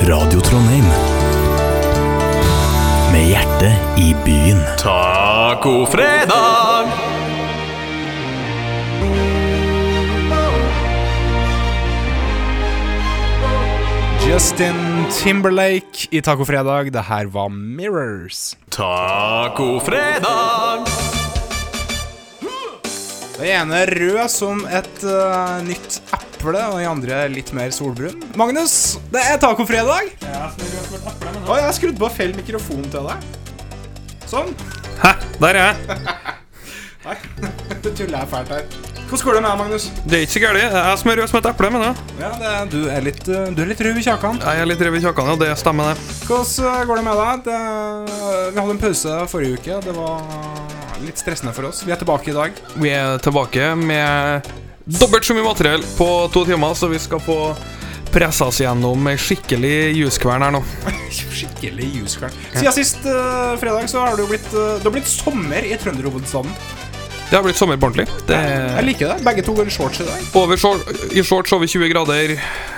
Radio Trondheim. Med hjertet i byen. Tacofredag! Justin Timberlake i Tacofredag. Det her var Mirrors. Tacofredag! Den ene rød som et eh, nytt eple, og den andre litt mer solbrun. Magnus, det er tacofredag! Å, jeg har skrudd på feil mikrofon til deg. Sånn. Hæ, der er jeg. Nei, det tuller jeg fælt her. Hvordan går det med deg, Magnus? Det er ikke så gærent. Jeg som er rød som et eple, men jeg. Ja, det, du, er litt, eh, du er litt rød i kjakan. jeg er litt rev i kjakan, og det stemmer, det. Hvordan eh, går det med deg? Det, eh, vi hadde en pause forrige uke. Det var eh, litt stressende for oss. Vi er tilbake i dag. Vi er tilbake med dobbelt så mye materiell på to timer, så vi skal få pressa oss gjennom ei skikkelig juskvern her nå. Skikkelig juskvern. Siden sist eh, fredag så har det jo blitt, eh, det har blitt sommer i trønderhovedstaden. Det har blitt sommer på ordentlig. Det Jeg er liker det. Begge to går i shorts i dag. over short, I shorts over 20 grader.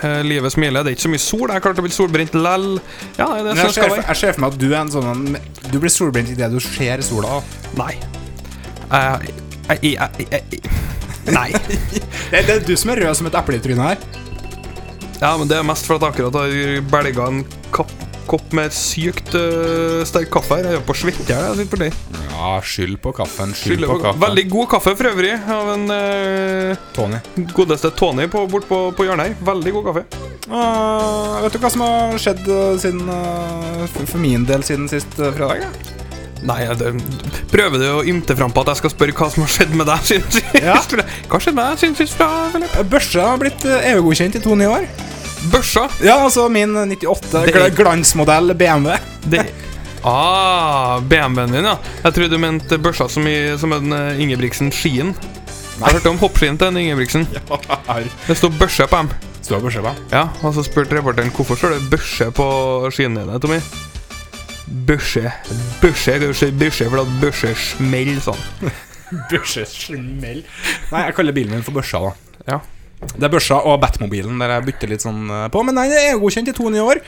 Eh, Livet smiler. Det er ikke så mye sol. Jeg klarte å bli solbrent lell. Ja, nei, det er Men jeg sånn det ser, skal for, være. jeg ser for meg at du er en sånn en- Du blir solbrent idet du ser sola. Nei. Jeg, jeg, jeg, jeg, jeg Nei. Det, det er du som er rød som et eple i trynet her. Ja, men det er mest for at jeg akkurat har belga en kopp, kopp med sykt øh, sterk kaffe her. Jeg er på svette her. jeg sitter for det. Ja, skyld på kaffen. Skylder på kaffe. Veldig god kaffe for øvrig av en øh, Tony. godeste Tony på, bort på, på hjørnet her. Veldig god kaffe. Åh, Ah, vet du hva som har skjedd eh, siden eh, for- for min del siden sist eh, fredag? Ja? Nei, jeg- det, prøver du å ymte fram på at jeg skal spørre hva som har skjedd med deg siden sist? Ja. Hva skjedde med deg siden sist, da, Philip? Børsa har blitt eh, EU-godkjent i to nye år. Børsa. Ja, altså min 98 Det er- gl glansmodell BMW. Det Ah, BMW-en din, ja. Jeg trodde du mente børsa som, i, som en øh, Ingebrigtsen-skien. Jeg hørte om hoppskien til en Ingebrigtsen. Det står børse på dem. Står børsa på. Ja, og så spurte reporteren hvorfor står det børse på skiene dine, Tommy. Børse. Børse, børse, børse, for at børse smeller sånn. Børsesmell. Nei, jeg kaller bilen min for børsa, da. Ja. Det er børsa og Batmobilen der jeg bytter litt sånn eh, på. Men nei, det er EU-godkjent i to nye år.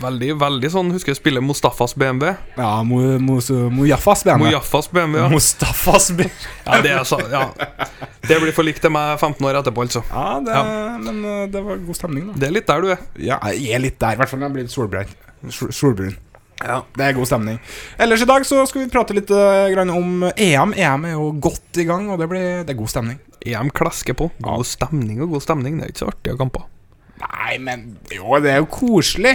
Veldig, veldig sånn. Husker jeg spillet Mustafas BMW. Ja, Mo- Mos- Mojafas BMW. Mojafas BMW, ja. Mustafas BMW. ja, det, er så, ja. det blir for likt til meg 15 år etterpå, altså. Ja, det, Ja. men eh, det var god stemning, da. Det er litt der du er. Ja, jeg er litt der, i hvert fall når jeg blir litt solbrun. Sol- Solbrun. Det er god stemning. Ellers i dag så skal vi prate litt eh, grann om EM. EM er jo godt i gang, og det, blir, det er god stemning. EM klasker på. God stemning og god stemning. Det er ikke så artige kamper. Nei, men jo, det er jo koselig.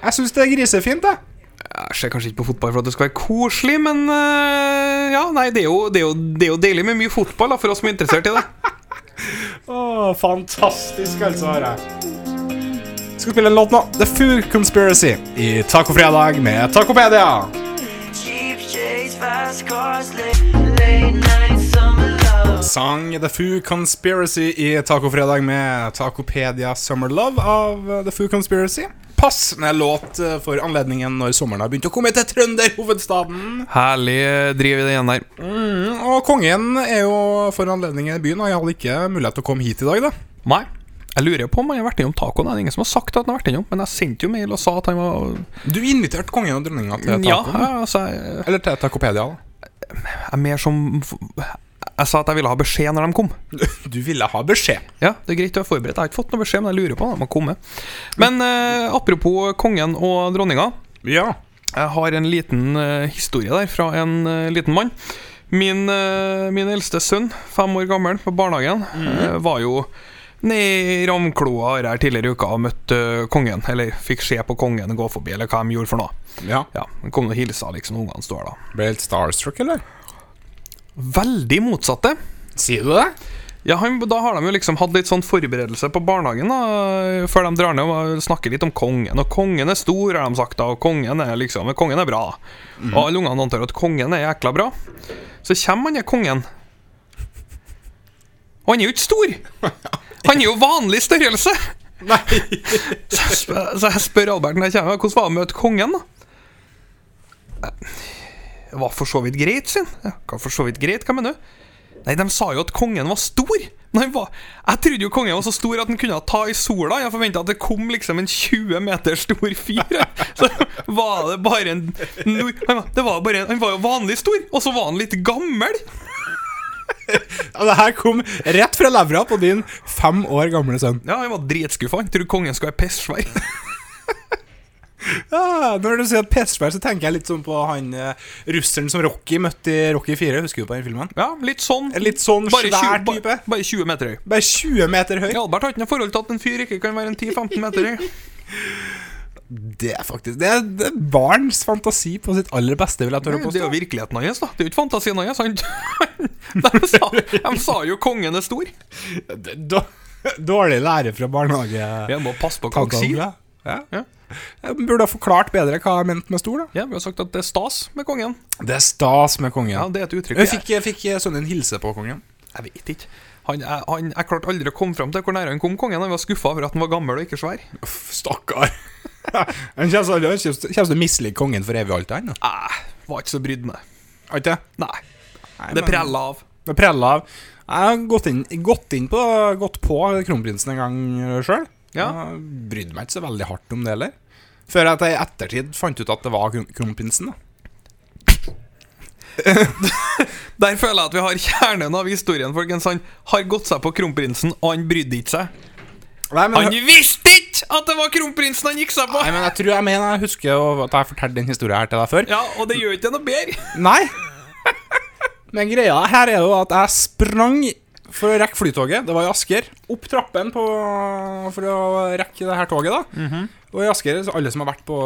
Jeg syns det er grisefint, jeg. Jeg ser kanskje ikke på fotball for at det skal være koselig, men eh, ja, nei, det er, jo, det, er jo, det er jo deilig med mye fotball da, for oss som er interessert i det. Åh, fantastisk, altså. Are. Skal spille en låt nå. The Food Conspiracy i Tacofredag med Tacopedia. Cheap shades, fast cars, late, late night summer love. Sang The Foo Conspiracy i Tacofredag med Tacopedia Summer Love av eh, The Foo Conspiracy. Passende låt eh, for anledningen når sommeren har begynt å komme til trønderhovedstaden. Herlig eh, driv i det igjen der. Mm, og kongen er jo for anledningen i byen, og jeg hadde ikke mulighet til å komme hit i dag, da. Nei. Jeg lurer på om han har vært innom tacoen. Det er ingen som har sagt at han har vært innom, men jeg sendte jo mail og sa at han var Du inviterte kongen og dronninga til Ja, tacoen? ja, altså jeg, Eller til Tacopedia, da. jeg er mer som Jeg sa at jeg ville ha beskjed når de kom. Du ville ha beskjed. Ja, det er greit å være forberedt. Jeg har ikke fått noe beskjed, men jeg lurer på om de har kommet. Men eh, apropos kongen og dronninga. Ja. Jeg har en liten eh, historie der fra en eh, liten mann. Min, eh, min eldste sønn, fem år gammel, på barnehagen, eh, var jo nede i Ravnkloa her tidligere i uka og møtte eh, kongen. Eller fikk se på kongen gå forbi, eller hva de gjorde for noe. ja. Ja, han Kom og hilsa, liksom, ungene står da. Ble helt starstruck, eller? Veldig motsatte. Sier du det? Ja, han, Da har de jo liksom hatt litt sånn forberedelse på barnehagen da, før de drar ned og snakker litt om kongen. Og kongen er stor, har de sagt, da, og kongen er liksom, kongen er bra. Og alle ungene antar at kongen er jækla bra. Så kommer han er kongen. Og han er jo ikke stor! Han er jo vanlig størrelse! Nei. Så jeg spør, så jeg spør Albert når jeg kommer, hvordan var det å møte kongen, da? Det var for så vidt greit, sin. Ja, hva for så vidt greit, hva mener du? Nei, de sa jo at kongen var stor! Men han var, jeg trodde jo kongen var så stor at han kunne ta i sola. Jeg forventa at det kom liksom en 20 meter stor fyr. Så var det bare en nor- han var- det var bare, en- Han var jo vanlig stor, og så var han litt gammel! Ja, det her kom rett fra levra på din fem år gamle sønn. Ja, Han var dritskuffa. Han trodde kongen skulle være pissvær. Ja, når du sier at Pesvær, så tenker jeg litt sånn på han eh, russeren som Rocky møtte i Rocky 4. Husker du på den filmen? Ja, litt sånn. En litt sånn Bare svær 20, type. ba- bare 20 meter høy. Bare 20 meter høy. Albert har ikke noe forhold til at en fyr ikke kan være en 10-15 meter høy. Det er faktisk Det er, det er barns fantasi på sitt aller beste, vil jeg Det tørre å er jo påstå. virkeligheten hans, da. Det er jo ikke fantasien hans. Han, de, sa, de sa jo kongen er stor. Dår- Dårlig lære fra barnehage. Jeg må passe på hva han sier. Tankene. Ja. Ja. Jeg burde ha forklart bedre hva jeg mente med stor, da. Ja, vi har sagt at det er stas med kongen. Det er stas med kongen. Ja, det er et uttrykk. jeg fikk, jeg fikk sønnen din hilse på kongen. jeg vet ikke. Han, jeg, han, jeg klarte aldri å komme fram til hvor nære han kom kongen. Han var skuffa over at han var gammel og ikke svær. Uff, stakkar. Han kommer til å- han kommer til å mislike kongen for evig og alltid, han. da. Jeg Eh, var ikke så brydd meg. Har ikke det? Nei. Nei, Det men- prella av. Det prella av. Jeg har gått inn, gått inn på Gått på kronprinsen en gang eh, sjøl. Ja. Brydde meg ikke så veldig hardt om det heller. Før at jeg i ettertid fant ut at det var kron- kronprinsen. da Der føler jeg at vi har kjernen av historien, folkens. Han har gått seg på kronprinsen, og han brydde ikke seg. Nei, men, Han visste ikke at det var kronprinsen han gikk seg på! nei, men jeg tror jeg mener jeg husker å- at jeg har fortalt den historien her til deg før. Ja, og det gjør ikke det noe bedre. Nei! Men greia her er jo at jeg sprang for å rekke flytoget. Det var i Asker. Opp trappen på, for å rekke det her toget, da. Mhm. Og i Asker, så alle som har vært på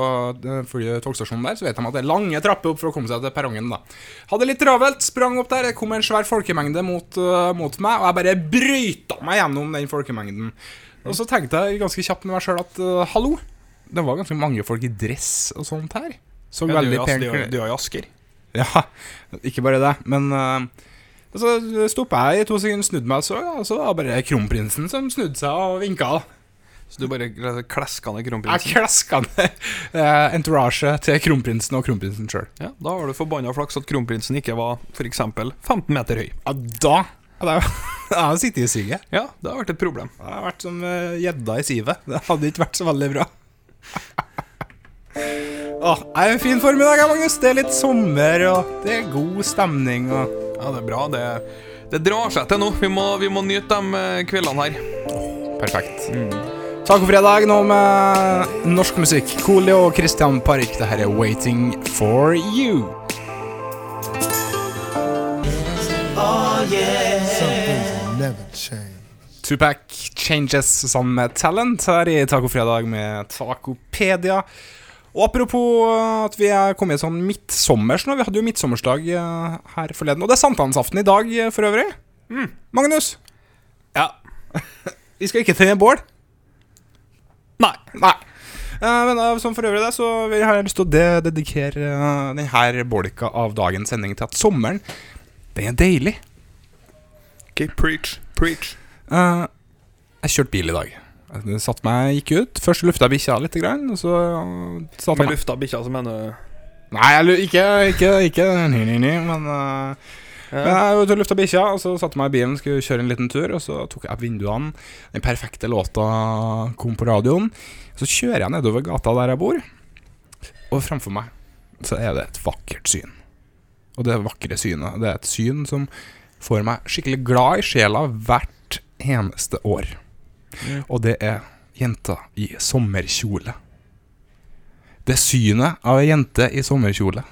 eh, fly- togstasjonen der, så vet de at det er lange trapper opp for å komme seg til perrongen, da. Hadde litt travelt, sprang opp der, det kom en svær folkemengde mot, eh, mot meg, og jeg bare bryta meg gjennom den folkemengden. Og så tenkte jeg ganske kjapt med meg sjøl at eh, hallo, det var ganske mange folk i dress og sånt her. Så veldig pent Du altså, er jo Asker. ja, ikke bare det, men eh, Så stoppa jeg i to sekunder, snudde meg, så, og så var det bare kronprinsen som snudde seg og vinka. Så du bare kleska ned Jeg kronprinsen? klaska ned uh, entouraget til kronprinsen og kronprinsen sjøl. Ja, Da har du forbanna flaks at kronprinsen ikke var f.eks. 15 meter høy. Ja, da hadde jeg hadde jeg sittet i siget. Ja, det har vært et problem. Jeg hadde vært som eh, gjedda i sivet. Det hadde ikke vært så veldig bra. Åh, det er en fin formiddag, her, Magnus. Det er litt sommer, og det er god stemning. Og Ja, det er bra. Det, det drar seg til nå. Vi må, vi må nyte de eh, kveldene her. Perfekt. Mm. Tacofredag nå med norsk musikk. Coolio og Christian Park. Det her er 'Waiting for You'. never change. Tupac Changes sammen med Talent her i Tacofredag med Tacopedia. Og apropos at vi er kommet sånn midtsommers nå. Vi hadde jo midtsommersdag eh, her forleden. Og det er sankthansaften i dag eh, for øvrig. Magnus, Ja. vi skal ikke til bål. Nei. Nei. Eh, men uh, som for øvrig det, så vil jeg ha lyst til å de dedikere eh, denne bolka av dagens sending til at sommeren, den er deilig. Ok, preach, preach. Eh, jeg kjørte bil i dag. Jeg satt meg, gikk ut. Først lufta jeg bikkja litt, grann, og så eh, satte jeg Med meg lufta bikkja, så mener du Nei, jeg, lu- ikke, ikke, ikke ny, ny, ny, men eh, men ja. jeg var ute og lufta bikkja, og så satte jeg meg i bilen skulle kjøre en liten tur. Og så tok jeg opp vinduene. Den perfekte låta kom på radioen. Så kjører jeg nedover gata der jeg bor, og framfor meg så er det et vakkert syn. Og det vakre synet, det er et syn som får meg skikkelig glad i sjela hvert eneste år. Og det er jenta i sommerkjole. Det synet av ei jente i sommerkjole.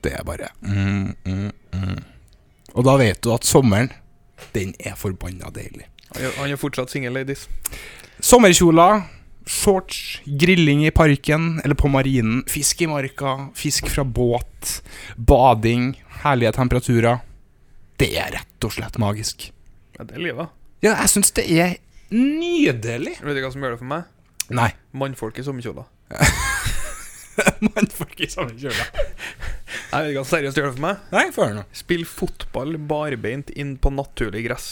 Det er bare mm, mm, mm. Og da vet du at sommeren, den er forbanna deilig. Han er- Han er fortsatt singel, ladies. Sommerkjoler, shorts, grilling i parken eller på marinen, fisk i marka, fisk fra båt, bading, herlige temperaturer. Det er rett og slett magisk. Ja, det er livet. Ja, jeg syns det er nydelig. Vet du hva som gjør det for meg? Nei. Mannfolk i sommerkjoler. Mannfolk i samme kjole. Jeg vet ikke hva som seriøst gjør det for meg. Nei, få høre nå. Spill fotball barbeint inn på naturlig gress.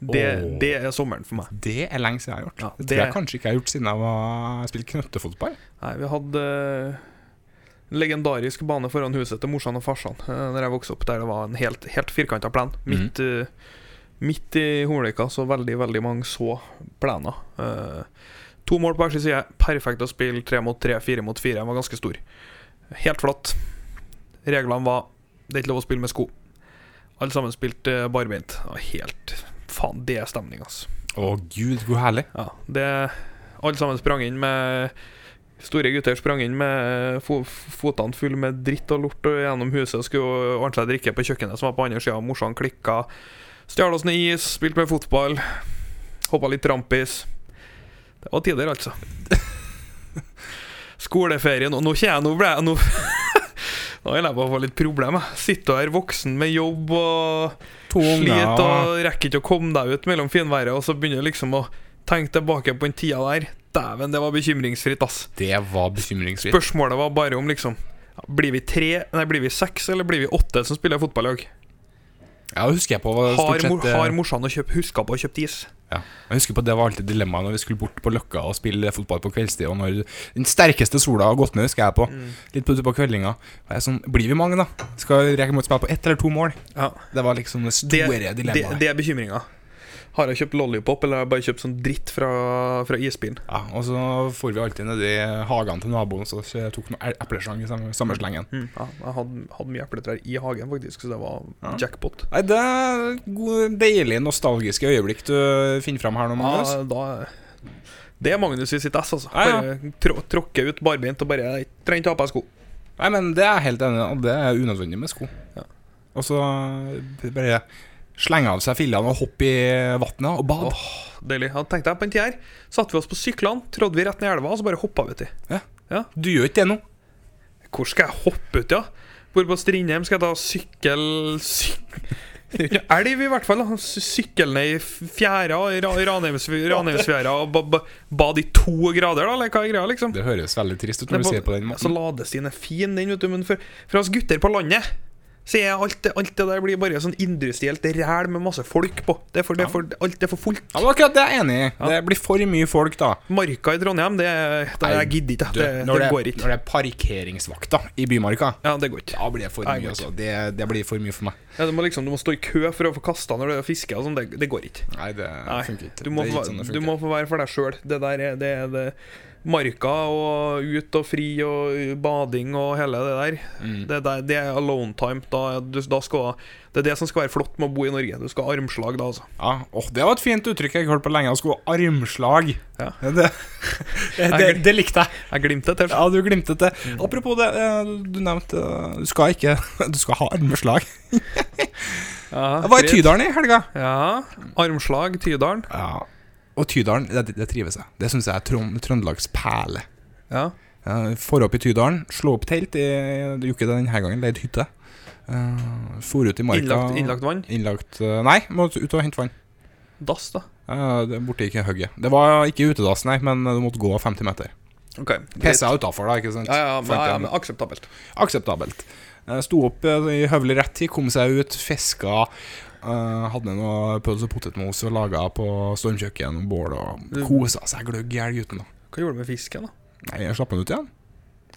Det, Åh. det er sommeren for meg. Det er lenge siden jeg har gjort. Ja, det det- tror jeg kanskje ikke jeg har gjort siden jeg var spilt knøttefotball. Nei, vi hadde eh, legendarisk bane foran huset til morsan og farsan eh, Når jeg vokste opp, der det var en helt, helt firkanta plen. Midt, eh, midt i Hornløkka, så veldig, veldig mange så plener. Eh, to mål på hver sin side. Perfekt å spille tre mot tre, fire mot fire. Den var ganske stor. Helt flatt. Reglene var det er ikke lov å spille med sko. Alle sammen spilte eh, barbeint. Det var Helt Faen, det er stemning, altså. Å gud, hvor herlig. Ja, det Alle sammen sprang inn med Store gutter sprang inn med eh, fo fotene fulle med dritt og lort og gjennom huset og skulle ordne seg drikke på kjøkkenet som var på andre sida. Morsan klikka. Stjal oss ned is, spilte med fotball. Hoppa litt rampis. Det var tider, altså. Skoleferien og Nå kjenner jeg Nå ble jeg Nå Nå holder jeg på å få litt problemer. jeg. Sitter her voksen med jobb og To unger Slit og og rekker ikke å komme deg ut mellom finværet, og så begynner du liksom å tenke tilbake på den tida der. Dæven, det var bekymringsfritt, ass. Det var bekymringsfritt. Spørsmålet var bare om liksom ja, Blir vi tre, nei, blir vi seks, eller blir vi åtte som spiller fotballag? Ja, det husker jeg på. var Har, Stort mor, sett, eh, har morsan og kjøpt, huska på å kjøpt is? ja. Jeg husker på Det var alltid dilemmaet når vi skulle bort på Løkka og spille fotball på kveldstid. Og når den sterkeste sola har gått ned, husker jeg på. Litt på, ute på kveldinga. Og jeg er sånn, Blir vi mange, da? Skal Reker mot spille på ett eller to mål? Ja. Det var liksom det Det, store det, dilemmaet. det er bekymringa. Har jeg kjøpt lollipop, eller har jeg bare kjøpt sånn dritt fra, fra isbilen? Ja, og så for vi alltid nedi hagen til naboen Så jeg tok noen el- epleslang i samme, samme slengen Ja, jeg hadde, hadde mye epletrær i hagen, faktisk, så det var jackpot. Nei, det er gode, deilige nostalgiske øyeblikk du eh, finner frem her nå, Magnus Ja, da Det er Magnus i sitt ess, altså. Ja, ja. Bare trå, tråkke ut barbeint og bare «Jeg Trenger ikke ha på deg sko. Nei, men det er jeg helt enig i, og det er unødvendig med sko Ja. Og så eh, bare slenge av seg fillene og hoppe i vattnet og bad Åh, Deilig. Ja, tenkte jeg på en tid her. Satte vi oss på syklene, trådde vi rett ned i elva, og så bare hoppa vi uti. Du gjør ikke det nå Hvor skal jeg hoppe uti, da? Bor på Strindheim, skal jeg da sykkel... Syk... Det er jo ikke elv, i hvert fall. da. Sy- Sykle ned i fjæra, i Ra- i Ranheimsf- Ranheimsfjæra, og ba, ba, bade i to grader, da, eller hva er greia, liksom? Det høres veldig trist ut når du Nei, sier det på den Så måten ladestien er fin, den, vet du. Men for, for oss gutter på landet så er alt, det- alt det der blir bare sånn industrielt ræl med masse folk på. Det er for, det er for, alt er for fullt. Ja, men akkurat det er jeg enig i Det blir for mye folk da Marka i Trondheim, det, det Nei, jeg gidder ikke. Du, Det, når det går ikke. Når det er parkeringsvakta i bymarka Ja, det går ikke. Da blir det for Nei, mye, godt. altså. Det, det blir for mye for meg. Ja, du, må liksom, du må stå i kø for å få kasta når du er fisker. og sånn, det, det går ikke. Nei, det funker ikke. Du må, det få, er ikke sånn det du funker. må få være for deg sjøl. Det der er det, er det Marka og ut og fri og bading og hele det der. Det, der, det er alone time. Da, du, da skal, det er det som skal være flott med å bo i Norge. Du skal ha armslag da, altså. ja. åh, det var et fint uttrykk jeg ikke hørte på lenge. Jeg skulle ha armslag. Ja. Det, det, det, det likte jeg. Jeg glimtet til. Ja, du glimtet det. Apropos det, eh, du nevnte eh, Du skal ikke Du skal ha armslag. Ja, Jeg var i greit. Tydalen i helga. Ja, armslag, Tydalen. Ja. Og Tydalen, det, det trives jeg. Det syns jeg er Trond, Trøndelags perle. Ja. Uh, for opp i Tydalen, slå opp telt. i- Det gjorde ikke det denne gangen, leid hytte. Uh, for ut i marka. Innlagt, innlagt vann. Innlagt, eh, Nei, må ut og hente vann. Dass, da. Eh, det er Borte ikke hugget. Det var ikke utedass, nei, men du måtte gå 50 meter. Ok, greit. Pissa utafor, da, ikke sant? Ja, ja, men, Fant ja, ja, en- men akseptabelt. Akseptabelt. Eh, Sto opp eh, i høvelig rett tid, kom seg ut, fiska. eh, hadde noe pølse og potetmos og laga på stormkjøkken og bål og kosa seg gløgg i hjel, gutten. da Hva gjorde du med fisken, da? Nei, jeg slapp han ut igjen.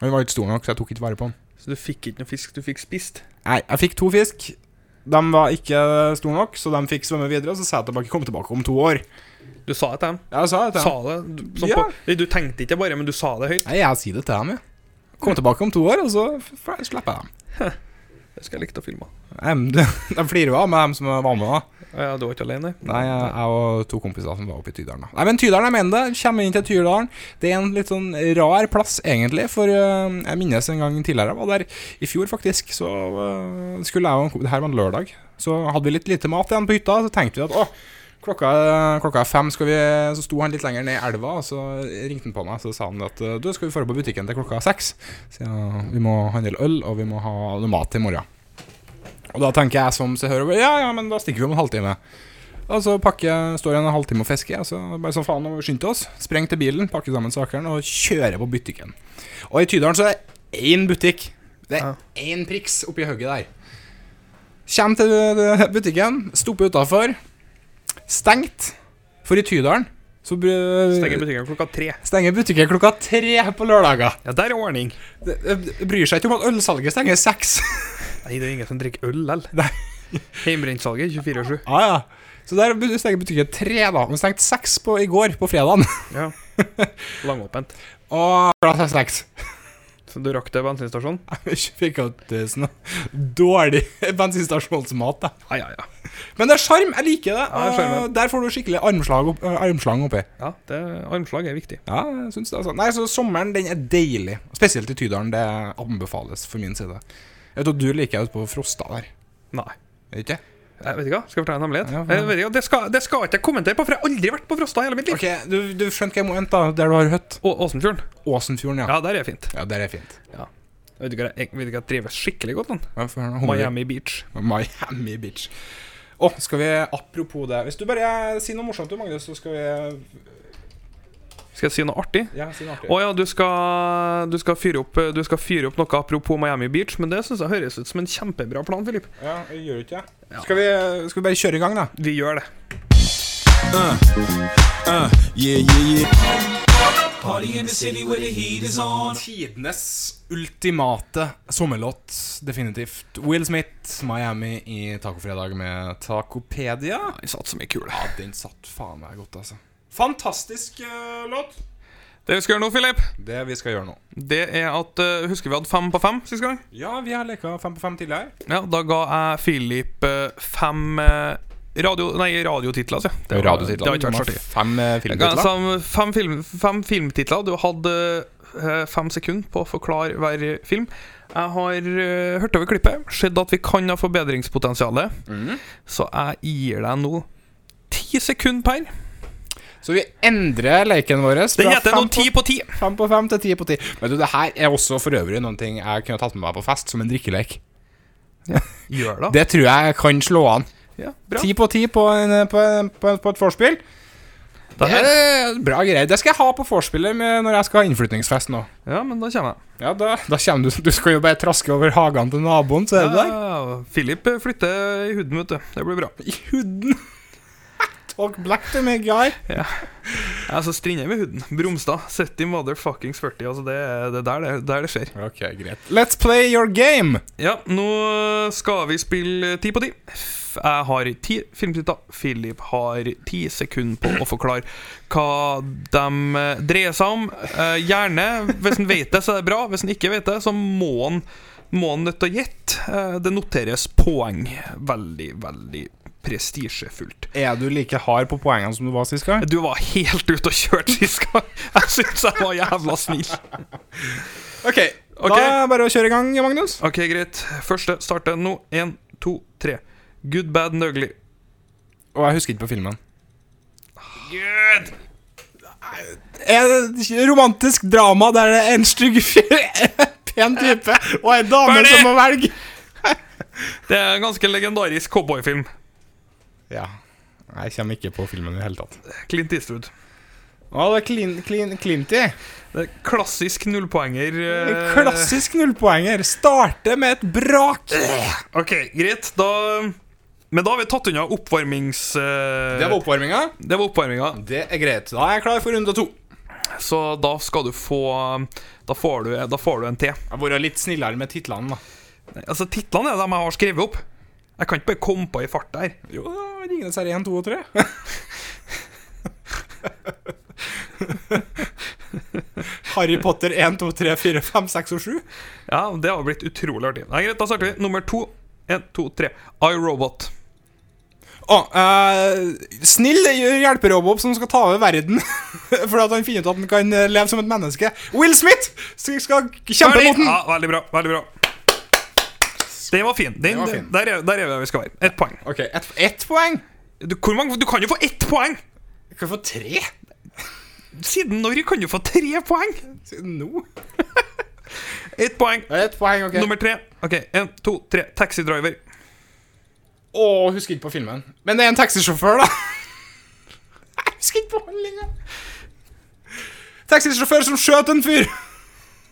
Han var ikke stor nok, så jeg tok ikke vare på han. Så du fikk ikke noe fisk, du fikk spist? Nei, jeg fikk to fisk. De var ikke store nok, så de fikk svømme videre. Og så sa jeg tilbake 'kom tilbake om to år'. Du sa det til dem? Jeg sa det til Sa dem. det? Du, sånn Ja. på, du tenkte ikke bare, men du sa det høyt? Nei, jeg sier det til dem, jeg. Kom tilbake om to år, og så f- f- slipper jeg dem. Det skal jeg likt å filme. Nei, men De de flirer jo av med dem som var med. da Ja, du var ikke alene? Nei, jeg- jeg og to kompiser som var oppe i Tydalen. da Nei, men Tydalen, jeg mener det. Kommer inn til Tydalen. Det er en litt sånn rar plass, egentlig. For øh, jeg minnes en gang tidligere, jeg var der i fjor faktisk, så øh, skulle jeg og en kom- Det her var en lørdag. Så hadde vi litt lite mat igjen på hytta, så tenkte vi at å, klokka, er- klokka er fem, skal vi Så sto han litt lenger ned i elva, og så ringte han på meg, så sa han at øh, du, skal vi dra på butikken til klokka seks? Så ja, vi må handle øl, og vi må ha noe mat til i morgen. Og da tenker jeg som seg hører, ja ja, men da stikker vi om en halvtime. Og så pakker jeg, står jeg en halvtime og fisker, og så bare sånn faen, nå må vi skynde oss. Spreng til bilen, pakker sammen sakene og kjører på butikken. Og i Tydalen så er det én butikk. Det er én priks oppi hugget der. Kjem til eh, butikken, stopper utafor. Stengt. For i Tydalen Så br- Stenger butikken klokka tre. stenger butikken klokka tre på lørdager. Ja, der er ordning. Det, det det bryr seg ikke om at ølsalget stenger seks. Nei, det er ingen som drikker øl likevel. Hjemmebrentsalget 24-7. Ja, ja. Så der bu- stenger butikken tre, da. Den stengte seks på, i går, på fredagen. Ja. Langåpent. Og klokka seks. Så du rakk til bensinstasjonen? Jeg Fikk alt eh, sånn dårlig bensinstasjonsmat, da. Ja, ja, ja. Men det er sjarm. Jeg liker det. Ja, det er sjarmen. og der får du skikkelig armslag opp, eh, armslang oppi. ja det, armslag er viktig. Ja, jeg syns det. altså. Nei, så Sommeren den er deilig. Spesielt i Tydalen. Det anbefales for min side. Jeg vet at du liker jeg ute på Frosta der. Nei. Er det Ikke? Jeg vet ikke, hva. Skal jeg fortelle en hemmelighet? Ja, ja. jeg vet ikke, det, skal, det skal jeg ikke kommentere på, for jeg har aldri vært på Frosta i hele mitt liv. Ok, Du, du skjønte hva jeg mente, da. Der du har høtt. Å- Åsenfjorden. Åsenfjorden, ja. Ja, der er fint. Ja, der er fint. Jeg vet ikke, jeg, jeg vet ikke, jeg trives skikkelig godt den. Hva for- Miami Beach. Miami Beach. Å, skal vi Apropos det. Hvis du bare sier noe morsomt, du, Magnus, så skal vi Skal jeg si noe artig? Ja, si noe artig. Å ja, du skal, du, skal fyre opp, du skal fyre opp noe apropos Miami Beach, men det syns jeg høres ut som en kjempebra plan, Filip. Ja, jeg gjør ikke det? Skal, vi, skal vi bare kjøre i gang, da? Vi gjør det. Tidenes ultimate sommerlåt, definitivt. Will Smith, Miami i Tacofredag med Tacopedia. Vi satser mye kule. Ja, den satt faen meg godt, altså. Fantastisk eh, låt. Det vi skal gjøre nå, Filip, Det vi skal gjøre nå. det er at eh, Husker vi hadde fem på fem sist gang? Ja, vi har leka fem på fem tidligere. Ja, da ga jeg Filip eh, fem eh, radio... Nei, radiotitler, altså. Det var- Det har ikke vært så artig. Fem eh, Ja, altså, fem, film, fem filmtitler. Du hadde eh, fem sekunder på å forklare hver film. Jeg har eh, hørt over klippet, sett at vi kan ha forbedringspotensial. Så jeg gir deg nå ti sekunder per. Så vi endrer leken vår Det fra heter fem nå ti på ti. på- fem på fem til ti på ti. Men du, det her er også for øvrig noen ting jeg kunne tatt med meg på fest, som en drikkelek. Gjør det. Det tror jeg kan slå an. Ja, bra. Ti på ti på, en, på, en, på, en, på et vorspiel. Da, Det er bra greier. Det skal jeg ha på vorspielet med- når jeg skal ha innflytningsfest nå. ja, men da kommer jeg. Ja, da, da kommer du Du skal jo bare traske over hagene til naboen, så er du der. Ja, Philip eh, flytter i huden, vet du. Det blir bra. I huden. Talk black to me, guy. Ja, så strinder jeg med huden. Bromstad. City motherfuckings 40. Altså, det er det er der det, der det skjer. Ok, greit. Let's play your game. Ja, nå skal vi spille ti på ti. F- Jeg har ti filmtitler. Philip har ti sekunder på å forklare hva de eh, dreier seg om. Eh, Gjerne, hvis han vet det, så er det bra. Hvis han ikke vet det, så må han, må han nødt til å gjette. Eh, Det noteres poeng. Veldig, veldig prestisjefullt. Er du like hard på poengene som du var sist gang? Du var helt ute og kjørte sist gang. Jeg syns jeg var jævla snill. Ok, Ok. Da er det bare å kjøre i gang, Magnus. Ok, greit. Første starter nå. Én, to, tre. Good, bad, and ugly. Og jeg husker ikke på filmen. Et romantisk drama der det er en stygg fyr, en pen type og en dame Ferdig! som må velge. Det er en ganske legendarisk cowboyfilm. Ja. Jeg kommer ikke på filmen i det hele tatt. Clint Eastwood. Å, det er clean, clean, Clinty. Det er klassisk nullpoenger. eh. En klassisk nullpoenger. Starte med et brak. Ok, greit. Da Men da har vi tatt unna oppvarmings... eh, Det var oppvarminga. det var oppvarminga. Det er greit. Da er jeg klar for runde to. Så da skal du få Da får du, da får du en til. Jeg har vært litt snillere med titlene, da. Altså, titlene er dem jeg har skrevet opp. Jeg kan ikke bare komme på i farta her. Jo, da Ringenes herre 1, 2 og 3. Harry Potter 1, 2, 3, 4, 5, 6 og 7. Ja, Det har blitt utrolig artig. Nei, greit, da starter vi. Nummer to. En, to, tre. iRobot. Å, eh, snill hjelperobot som skal ta over verden fordi at han finner ut at han kan eh, leve som et menneske. Will Smith skal skal kjempe Ferdig! mot den. Ja, veldig bra. veldig bra Den var fin. Den, var fin. Der, er, der er vi der vi skal være. Ett poeng. Ok, ett ett poeng. Du, hvor mange, du kan jo få ett poeng! Jeg kan få tre Siden når kan du få tre poeng? siden nå. Ett poeng. Ett poeng, ok. Nummer tre. Ok, En, to, tre. Taxidriver. Å, husker ikke på filmen. Men det er en taxisjåfør, da. Jeg husker ikke på handlinga. Taxisjåfør som skjøt en fyr.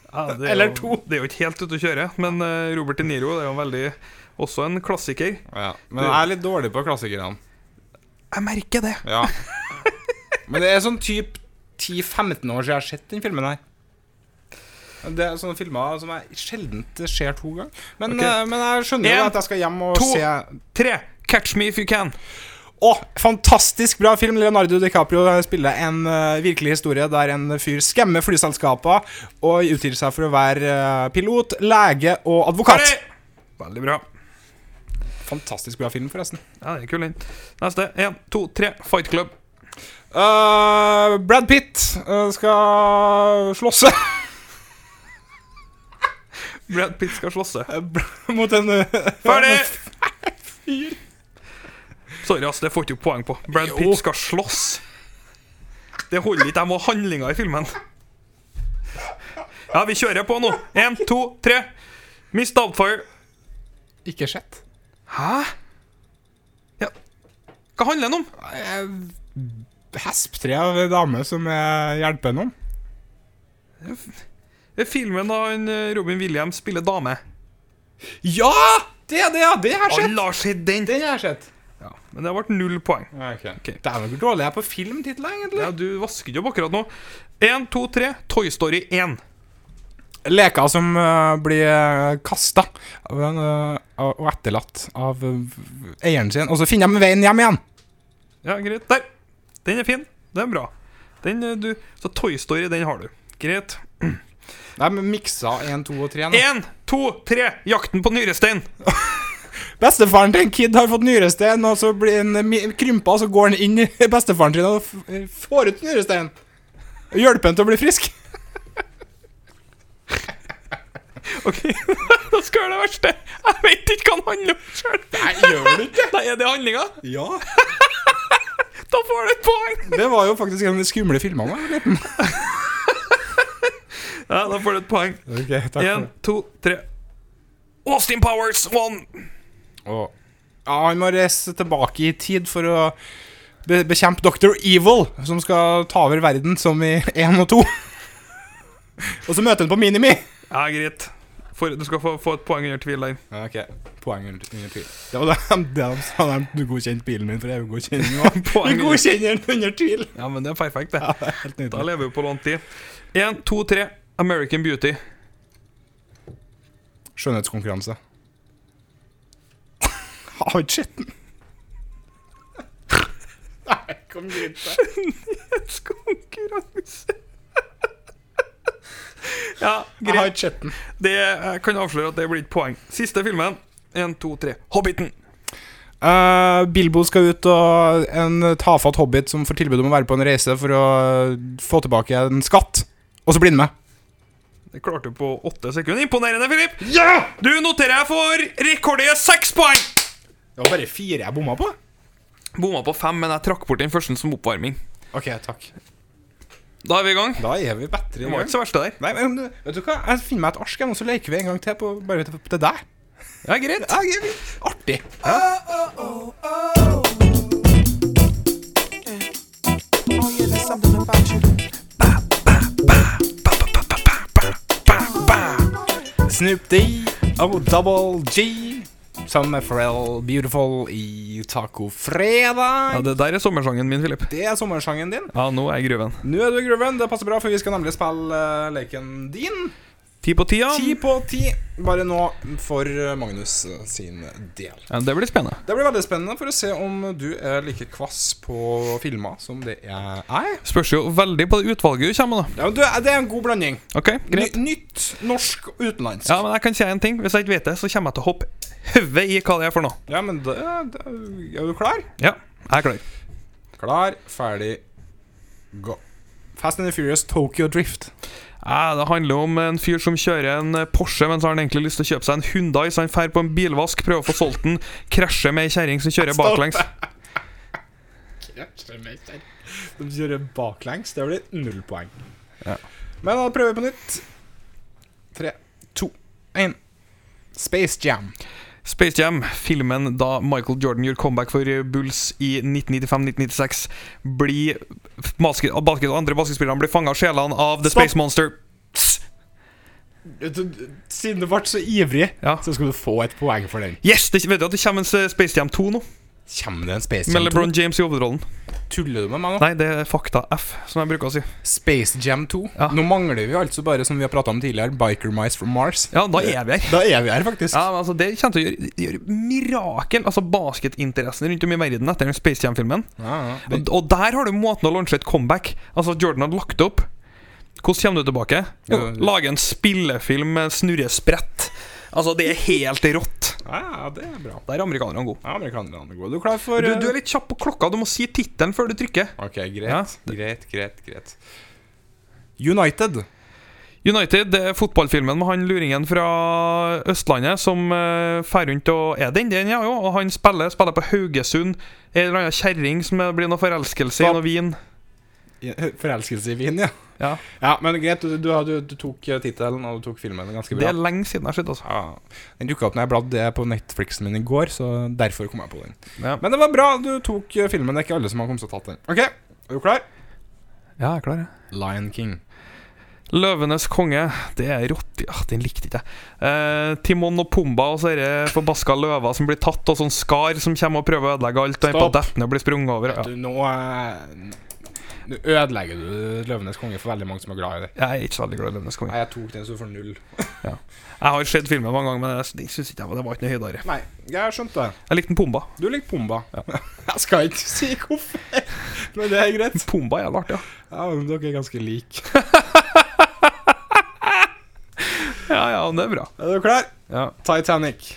Ja, det er Eller jo- to. Det er jo ikke helt ute å kjøre, men eh, Robert De Niro det er jo veldig også en klassiker. Ja, men jeg er litt dårlig på klassikerne. Jeg merker det. Ja. Men det er sånn typ 10-15 år siden jeg har sett den filmen her. Det er sånne filmer som jeg sjelden ser to ganger. Men, Ok. eh, men jeg skjønner jo En, at jeg skal hjem og to. se Tre. Catch me if you can. Å, fantastisk bra film. Leonardo DiCaprio spiller en eh, virkelig historie der en fyr skremmer flyselskaper og utgir seg for å være eh, pilot, lege og advokat. Ferdig! Veldig bra. Fantastisk bra film, forresten. Ja, det er kul, den. Neste. Én, to, tre. Fight Club. Eh, Brad Pitt eh, skal slåsse Brad Pitt skal slåsse. mot en eh, Ferdig! Sorry, ass, det får ikke du poeng på. Brad Pitt skal slåss. Det holder ikke. Jeg må ha handlinger i filmen. Ja, vi kjører på nå. Én, to, tre. Miss Doubtfire. Ikke sett. Hæ? Ja. Hva handler den om? Hesptre Eh, av en dame som eh, hjelper noen. Det er filmen da han, eh, Robin Williams spiller dame. Ja! Det, det, det har jeg sett. Alle har sett den! Den har jeg sett. Ja, men det ble null poeng. Okay. Dæven, hvor dårlig jeg er på filmtitler, egentlig. Ja, Du vasker ikke opp akkurat nå. Én, to, tre. Toy Story 1. leker som eh, blir uh, kasta eh, og etterlatt av eh, eieren sin, og så finner de veien hjem igjen. Ja, greit. Der! Den er fin. Den er bra. Den, eh, du Så Toy Story, den har du. Greit. De miksa 1, 2 og 3 nå. Én, to, tre. Jakten på nyrestein. Bestefaren til en kid har fått nyrestein, og så blir han mi- krympa, og så går han inn i bestefaren sin og f får ut nyrestein. Og hjelper han til å bli frisk. Ok, Da skal jeg gjøre det verste. Jeg vet ikke hva den handler om sjøl. Nei, gjør du ikke? Nei, er det handlinga? Ja. Da får du et poeng. Det var jo faktisk en av de skumle filmene. da jeg var liten. Ja, da får du et poeng. Ok, takk for Én, det. to, tre. Austin Powers one. Og- Ja, han må reise tilbake i tid for å be bekjempe Dr. Evil, som skal ta over verden som i 1 og 2. og så møter han på Minimi. Ja, greit. For, du skal få, få et poeng under tvil der. Ok, poeng under tvil. Det var det de, det de sa da de godkjente bilen min for EU-godkjenning. og- Vi Poeng under- godkjenner den under tvil. Ja, men det er perfekt, det. Helt Da nydelig. lever vi på lånt tid. Én, to, tre. American Beauty. Skjønnhetskonkurranse. Har ikke sett den. Nei, kom dit. Konkurranse. ja, Jeg har greit. ikke sett den. Det, jeg kan avsløre at det blir et poeng. Siste filmen. Én, to, tre. Hobbiten. Eh, Bilbo skal ut, og en tafatt hobbit som får tilbud om å være på en reise for å få tilbake en skatt. Og så blir han med. Det klarte du på åtte sekunder. Imponerende, Filip. Du noterer jeg for rekordige seks poeng. Det var bare fire jeg bomma på. Bomma på fem, men jeg trakk bort den første som oppvarming. Ok, takk. Da er vi i gang. Da er vi bedre Det var ikke så verste der. Nei, men du- vet du hva? Jeg finner meg et ark, og så leker vi en gang til på bare til til deg. Ja, greit. Ja, jeg- Artig. Snoop D og Double G sammen med Pharrell Beautiful i Taco Fredag. Ja, Det der er sommersangen min, Filip. det er sommersangen din. Ja, nå er jeg i gruven. Nå er du i grooven. Det passer bra, for vi skal nemlig spille eh, leken din. Ti på ti, ja. Ti på ti, bare nå for eh, Magnus eh, sin del. Ja, Det blir spennende. Det blir veldig spennende for å se om du er like kvass på filmer som det jeg er. Spørs jo veldig på det utvalget du kommer med, Ja, men du, det er en god blanding. da. Ok, greit. Ny- Nytt, norsk og utenlandsk. Ja, men jeg kan si en ting. Hvis jeg ikke vet det, så kommer jeg til å hoppe hodet i hva det er for noe. Ja, men da, ja, da Er du klar? Ja, jeg er klar. Klar, ferdig, gå. Fast and the Furious Tokyo Drift. Ja, det handler om en fyr som kjører en eh, Porsche, men så har han egentlig lyst til å kjøpe seg en Hundai, så han drar på en bilvask, prøver å få solgt den, krasjer med ei kjerring som kjører baklengs. De kjører baklengs. Det blir null poeng. Men da prøver vi på nytt. Tre, to, én. Space Jam. Space Jam, filmen da Michael Jordan gjorde comeback for eh, Bulls i 1995-1996, blir basket, basket, Andre basketspillere blir fanga av sjelene av The Stopp. Space Monster. Tss. Siden du ble så ivrig, Ja. så skal du få et poeng for den. Yes! Det, vet du at det kommer en eh, Space Jam 2 nå? Kommer det en Space Jam Med LeBron James i hovedrollen. 2? Tuller du med meg nå? Nei, det er fakta F, som jeg bruker å si. Space Jam 2. Ja. Nå mangler vi altså bare, som vi har prata om tidligere, Biker Mice from Mars. Ja, da er vi her. Da er vi her, faktisk. Ja, men altså Det kommer til å gjøre, gjøre mirakel. Altså Basketinteressen rundt om i verden etter den Space Jam-filmen. Ja, ja. Og, og der har du måten å lansere et comeback. Altså at Jordan hadde lagt opp. Hvordan kommer du tilbake? Jo, Ja. Lage en spillefilm med snurresprett. Altså, det er helt rått. Ja, det er bra. Der er amerikanerne gode. Ja, Amerikanerne er gode. Du er klar for Du, eh, du er litt kjapp på klokka. Du må si tittelen før du trykker. Ok, greit. Ja. Greit, greit, greit. United. United det er fotballfilmen med han luringen fra Østlandet som uh, fer rundt og er den, den, ja jo. Og han spiller, spiller på Haugesund. En eller annen kjerring som det blir noe forelskelse i Stopp. noe vin. Forelskelse i vin, ja. Ja, Ja, Men greit, du, du, du, du tok eh, tittelen, og du tok filmen. Det er Ganske Det bra. er lenge siden jeg har sett, altså. Ja. Den dukka opp når jeg bladde på Netflixen min i går, så derfor kom jeg på den. Ja. Men det var bra du tok eh, filmen. Det er ikke alle som har kommet og tatt den. Ok, er du klar? Ja, jeg er klar, jeg. Lion King. Løvenes konge, det er rått ja, Den likte ikke jeg. Eh, Timon og Pumba og sånne forbaska løver som blir tatt, og sånn skar som kommer og prøver å ødelegge alt. Og en på Stopp. dettende blir sprunget over. Ja. Du, nå eh, Nå ødelegger du 'Løvenes konge' for veldig mange som er glad i det. Jeg er ikke så veldig glad i Løvenes konge. Nei, jeg tok den så for null. Jeg har sett filmen mange ganger, men jeg sy- synes ikke jeg var- det var ikke noe høydere. Nei, jeg skjønte det. Jeg likte en Pumba. Du liker Pumba. Jeg skal ikke si hvorfor, men det er greit. Pumba er jævlig artig, ja. Ja, men Dere er ganske like. Ja, ja, men det er bra. Er du klar? Ja. Titanic.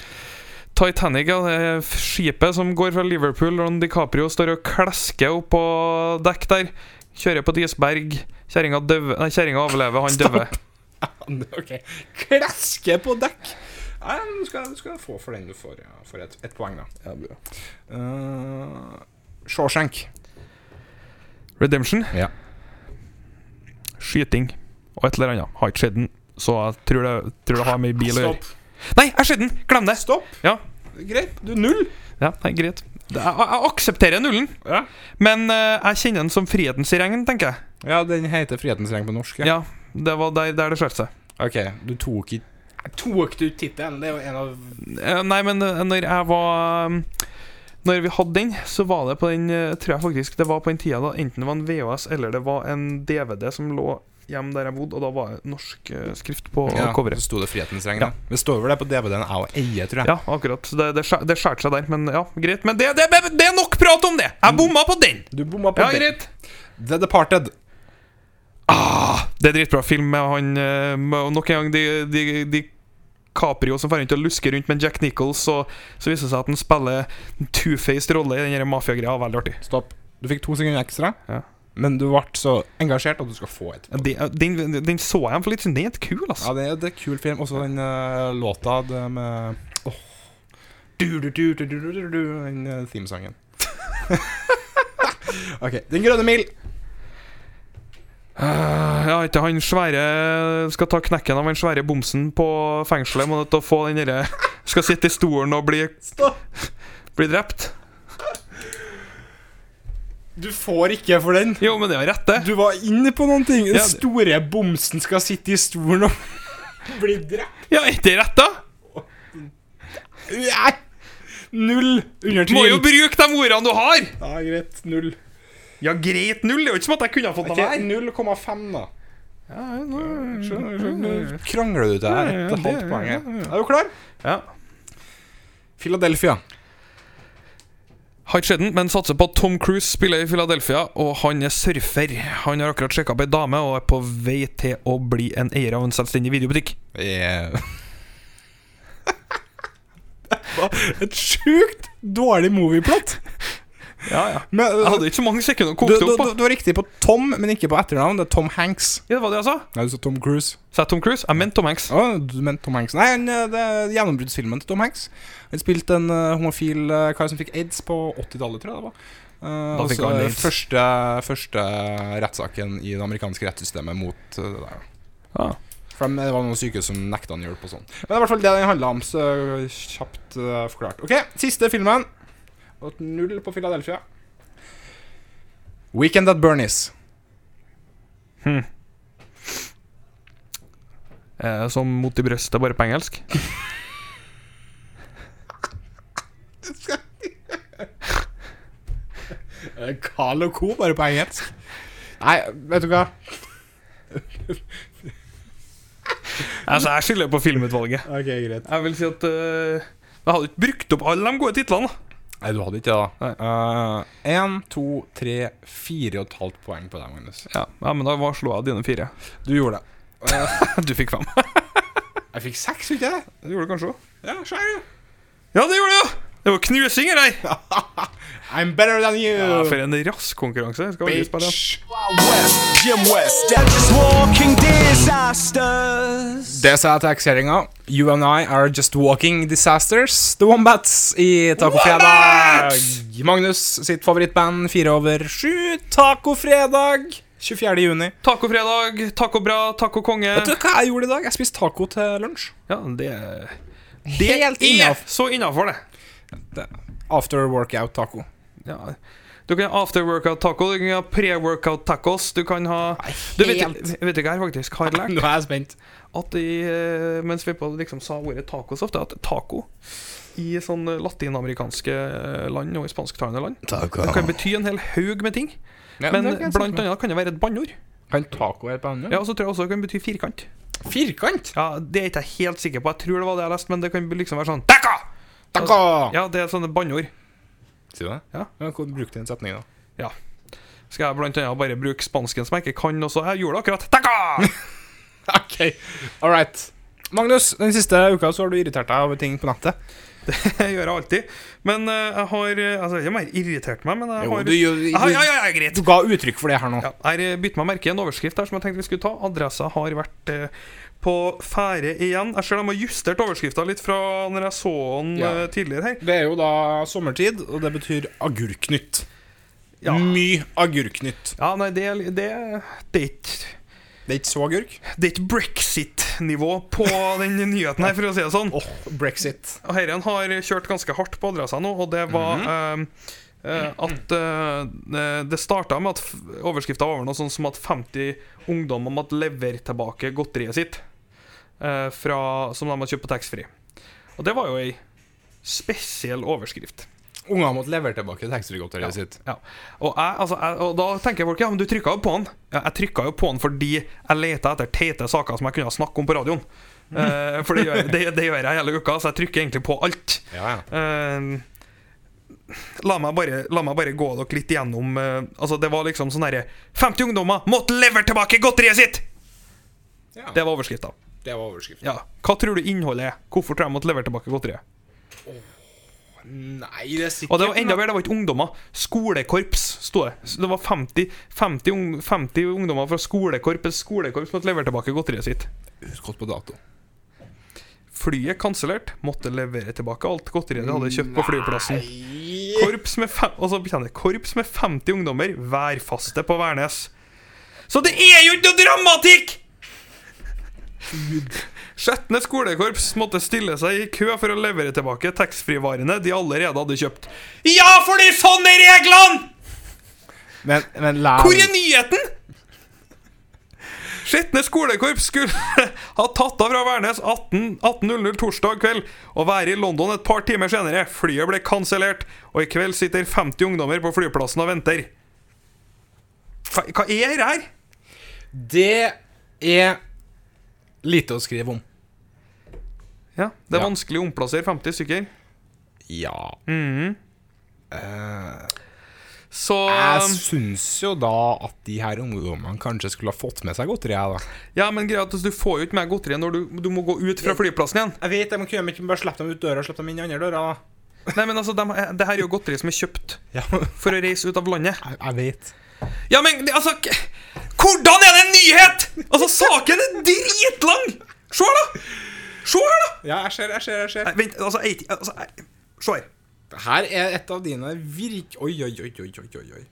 Titanic ja, det er f- skipet som går fra Liverpool, og DiCaprio står og klesker opp på dekk der. Kjører på et isberg. Kjerringa døver- nei, kjerringa overlever, han døver. Ok. Klaske på dekk. Nei, men du skal, du skal få for den du får. Ja, for et, et poeng, da. Ja, bra. Eh, Shawshank. Redemption. Ja. Skyting og et eller annet. Har ikke sett den, så jeg tror det, tror det har med bil å gjøre. Stopp. Nei, jeg har sett den! Glem det! Stopp. Ja. Greit. Du, null. Ja, nei, greit. Det- Jeg, jeg aksepterer nullen, Ja. men eh, jeg kjenner den som frihetens regn, tenker jeg. ja, den heter Frihetens regn på norsk. Ja, det var der, der det skjøt seg. Ok, du tok ikke Tok du tittelen? Det er jo en av Eh, Nei, men eh, når jeg var eh, Når vi hadde den, så var det på den eh, Tror jeg faktisk det var på den tida da enten det var en VHS eller det var en DVD som lå hjemme der jeg bodde, og da var det norsk eh, skrift på ja, coveret. Så sto det Frihetens regn. Ja. da. Det står vel det på DVD-en jeg og eier, tror jeg. Ja, akkurat. Så Det, det, skjær- det skjærte seg der, men ja, greit. Men det, det, det er nok prat om det! Jeg bomma på den! Du bomma på Ja, det. greit. The Departed. Det er dritbra film med han eh, med, og Nok en gang de, de, de Caprio som får rundt og lusker rundt med Jack Nichols, og så viser det seg at han spiller en two-faced rolle i den her mafiagreia. Veldig artig. Stopp. Du fikk to sekunder ekstra, Ja. men du ble så engasjert at du skal få et. Ja, det- ja, Den, den, den så jeg for litt siden. Den er helt kul, Ja, altså. det er, det er kul film. Også den eh, låta det med Åh du, du, du, du, du, du, du, du, Den eh, themesangen. ok. Den grønne mil. Eh, Ja, ikke han svære Skal ta knekken av den svære bomsen på fengselet. Må nødt til å få den derre Skal sitte i stolen og bli, Stopp. bli drept. Du får ikke for den. Jo, men det er jo rett, det. Du var inne på noen ting. Den Ja, det- store bomsen skal sitte i stolen og bli drept. Ja, er ikke det rett, da? Nei! Null. Under Må tvil. jo bruke de ordene du har! Ja, greit. Null. Ja, greit null. Det er jo ikke som at jeg kunne ha fått Ok, 0,5, da. noe Nå Krangler du til her ja, etter det- halvt poeng? her. Er du klar? Ja. Philadelphia. Har ikke sett den, men satser på at Tom Cruise spiller i Philadelphia, og han er surfer. Han har akkurat sjekka opp ei dame og er på vei til å bli en eier av en selvstendig videobutikk. Eh. Et sjukt dårlig movieplot. Ja, ja. Men, Jeg uh, hadde ikke så mange sekunder å du, koke det du, opp på. du, du var riktig på Tom, men ikke på etternavn. Det er Tom Hanks. Ja, det var det jeg sa. Nei, du sa Tom Cruise. Sa jeg Tom Cruise? Jeg mente Tom Hanks. Å, du mente Tom Hanks. Nei, han, eh, det er gjennombruddsfilmen til Tom Hanks. Han spilte en eh, homofil eh, kar som fikk aids på 80-tallet, tror jeg det var. Eh, Da og fikk så han eh, aids. første, første rettssaken i det amerikanske rettssystemet mot eh, det der. Ja. For de- det var noen sykehus som nekta han hjelp og sånn. Men det er i hvert fall det den handla om, så kjapt eh, forklart. Ok, siste filmen. Og et null på Philadelphia. Weekend at Bernies. Eh, som mot i brøstet, bare på engelsk. Jeg Carl og Co., Eh, bare på engelsk. Nei, vet du hva? Altså, jeg skylder på filmutvalget. Ok, greit. Jeg vil si at eh, jeg hadde ikke brukt opp alle de gode titlene. da. Nei, du hadde ikke det, da. Én, to, tre, fire og et halvt poeng på deg, Magnus. Ja, ja Men da var slo jeg dine fire. Du gjorde det. Du fikk fem. Jeg fikk seks, fikk jeg? Du gjorde det kanskje òg. Ja, skjær. Ja, det gjorde du! ja! Det var knusing her, ei! I'm better than you! Ja, for en rask konkurranse. Skal vi spille den? Jim West, they're just walking disasters. Det sa jeg til X-kjerringa. You and I are just walking disasters. The Wombats i Tacofredag. Magnus sitt favorittband, fire over sju. Tacofredag 24. juni. Tacofredag, taco bra, taco konge. Vet du hva jeg gjorde i dag? Jeg spiste taco til lunsj. Ja, det er Helt er innafor. så innafor, det. After workout taco. Ja. Du kan ha after-workout taco, du kan ha pre-workout tacos, du kan ha Du vet, vet ikke hva jeg faktisk har lært? Nå er jeg spent. At i, eh, Mens vi på liksom sa ordet tacos ofte, at taco i sånn eh, latinamerikanske eh, land og i spansktalende land Det kan bety en hel haug med ting. Men blant annet kan det være et banneord. Kan taco være på andre? Ja, og så tror jeg også det kan bety firkant. Firkant! Ja, Det er ikke jeg helt sikker på. Jeg tror det var det jeg leste, men det kan liksom være sånn Taco! Taco! Ja, det er sånne banneord. Sier du det? Ja. Hvordan brukte du den setningen, da? Skal jeg blant annet bare bruke spansken som jeg ikke kan også? Jeg gjorde det akkurat. Taco! Ok, all right. Magnus, den siste uka så har du irritert deg over ting på nettet. Jeg gjør det alltid. Men eh, jeg har eh, Altså, jeg har mer irritert meg, men jeg har gjør Jeg har- ja, ja, ja, greit. Du ga uttrykk for det her nå. Ja, jeg bytter meg merke i en overskrift her som jeg tenkte vi skulle ta. Adressa har vært eh, på ferde igjen. Jeg ser de har justert overskrifta litt fra når jeg så den Ja. eh, tidligere her. Det er jo da sommertid, og det betyr agurknytt. Ja. Mye agurknytt. Ja, nei, det, er li- det, det er ikke Det er ikke så agurk. det er ikke brexit-nivå på den nyheten her, for å si det sånn. Åh, brexit. Og Herren har kjørt ganske hardt på adressa nå, og det var eh, eh, at eh, det starta med at f- overskrifta var over noe sånn som at 50 ungdommer måtte levere tilbake godteriet sitt eh, fra, som de hadde kjøpt på taxfree. Og det var jo ei spesiell overskrift. Unger måtte levere tilbake taxfree-godteriet sitt. Ja. Og, jeg, altså, jeg, og da tenker folk ja, men du trykka jo på den. Ja, jeg trykka jo på den fordi jeg leta etter teite saker som jeg kunne snakke om på radioen. Mm. Eh, for det gjør, det, det gjør jeg hele uka, så jeg trykker egentlig på alt. Ja, ja. Eh, la, meg bare, la meg bare gå dere litt gjennom eh, Altså Det var liksom sånn herre 50 ungdommer måtte levere tilbake godteriet sitt! Ja. Det var overskrifta. Det var overskriften. Ja. Hva tror du innholdet er? Hvorfor tror jeg de måtte levere tilbake godteriet? Nei, det er sikkert Og det var enda bedre, det var ikke ungdommer. Skolekorps, sto det. Så det var 50, 50, ung- 50 ungdommer fra skolekorps skolekorps måtte levere tilbake godteriet sitt. Husk godt på dato. Flyet kansellert. Måtte levere tilbake alt godteriet de hadde kjøpt på flyplassen. Korps med, fem, og så kjenner jeg, korps med 50 ungdommer værfaste på Værnes. Så det er jo ikke noe dramatikk! Skjetne skolekorps måtte stille seg i kø for å levere tilbake taxfree-varene de allerede hadde kjøpt. Ja, fordi sånn er reglene! Men, men la Hvor er nyheten? Skitne skolekorps skulle ha tatt av fra Værnes 18 18.00 torsdag kveld og være i London et par timer senere. Flyet ble kansellert, og i kveld sitter 50 ungdommer på flyplassen og venter. Hva hva er det her? Det er lite å skrive om. Ja, Det er Ja. vanskelig å omplassere 50 stykker. Ja. Så Jeg syns jo da at de her ungdommene kanskje skulle ha fått med seg godteri, jeg, da. Ja, men greia er at altså, du får jo ikke med godteriet når du, du må gå ut fra flyplassen igjen. Jeg vet det, men kunne de ikke bare slippe dem ut døra og slippe dem inn i andre døra? da? Nei, men altså, dem- Det her er jo godteri som er kjøpt for å reise ut av landet. Jeg, jeg vet. Ja, men det- altså k- Hvordan er det en nyhet?! Altså, saken er dritlang! Se her, da! Se her, da! Ja, jeg ser, jeg ser, jeg ser. Nei, vent, altså, jeg, altså jeg, Se her. Her er et av dine virk... Oi, oi, oi, oi, oi, oi, oi.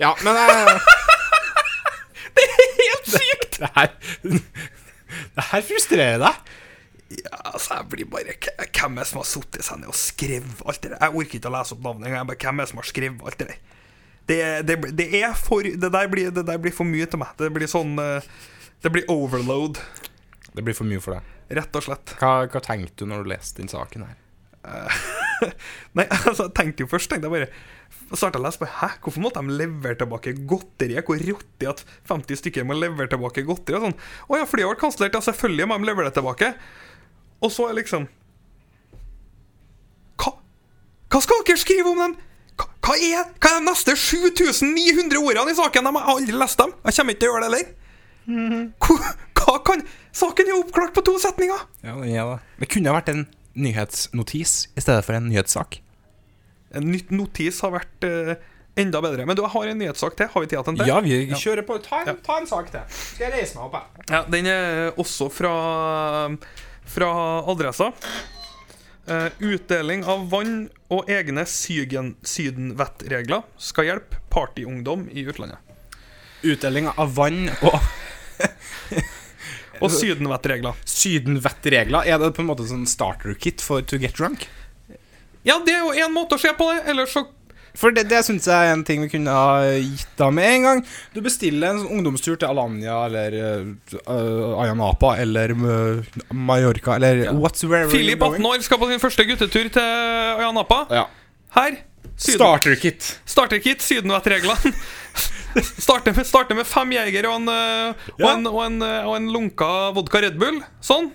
Ja, men eh, jeg... Helt sykt! Det her... Det her frustrerer deg. Altså, jeg blir bare k- Hvem er det som har satt seg ned og skrevet alt det der? Jeg orker ikke å lese opp navnet engang. jeg bare, Hvem er det som har skrevet alt det der? Det, det, det er for det der, blir, det der blir for mye til meg. Det blir sånn eh, Det blir overload, Det blir for mye for deg. rett og slett. Hva, hva tenkte du når du leste den saken her? Nei, altså, jeg tenkte jo først tenkte jeg bare starta å lese på Hæ, hvorfor måtte de levere tilbake godteriet? Hvor rottig at 50 stykker må levere tilbake godteri? og sånn. Å ja, for de ble kansellert. Ja, selvfølgelig må de levere det tilbake. Og så er liksom Hva Hva skal dere skrive om dem? Hva, hva, er, hva er de neste 7900 ordene i saken? De har aldri lest dem. Jeg kommer ikke til å gjøre det heller. Hva, hva kan Saken er oppklart på to setninger! Ja, den er det. Det kunne ha vært en nyhetsnotis i stedet for en nyhetssak. En nytt notis har vært eh, enda bedre. Men du, jeg har en nyhetssak til. Har vi tid til den? til? Ja, vi Kjøre på. Ta en, ta en sak til. Skal jeg reise meg opp, jeg. Ja, den er også fra, fra adressa. Eh, utdeling av vann og egne sygen, sydenvettregler skal hjelpe partyungdom i utlandet. Utdeling av vann og Eh, Og sydenvettregler. sydenvettregler. Er det på en måte sånn starter-kit for to get drunk? Ja, det er jo én måte å se på det! Ellers så For det, det syns jeg er en ting vi kunne ha gitt deg med en gang. Du bestiller en sånn ungdomstur til Alanya eller uh, Ayanapa eller øh, Mallorca eller what's where Philip, 18 år, skal på sin første guttetur til Øya Napa. Ja. Her. Syden- Starter-kit. Starterkit, sydenvettreglene. Starte med, starte med fem jeger og en, eh, og, Ja. en, og, en, eh, og en lunka vodka Red Bull. Sånn.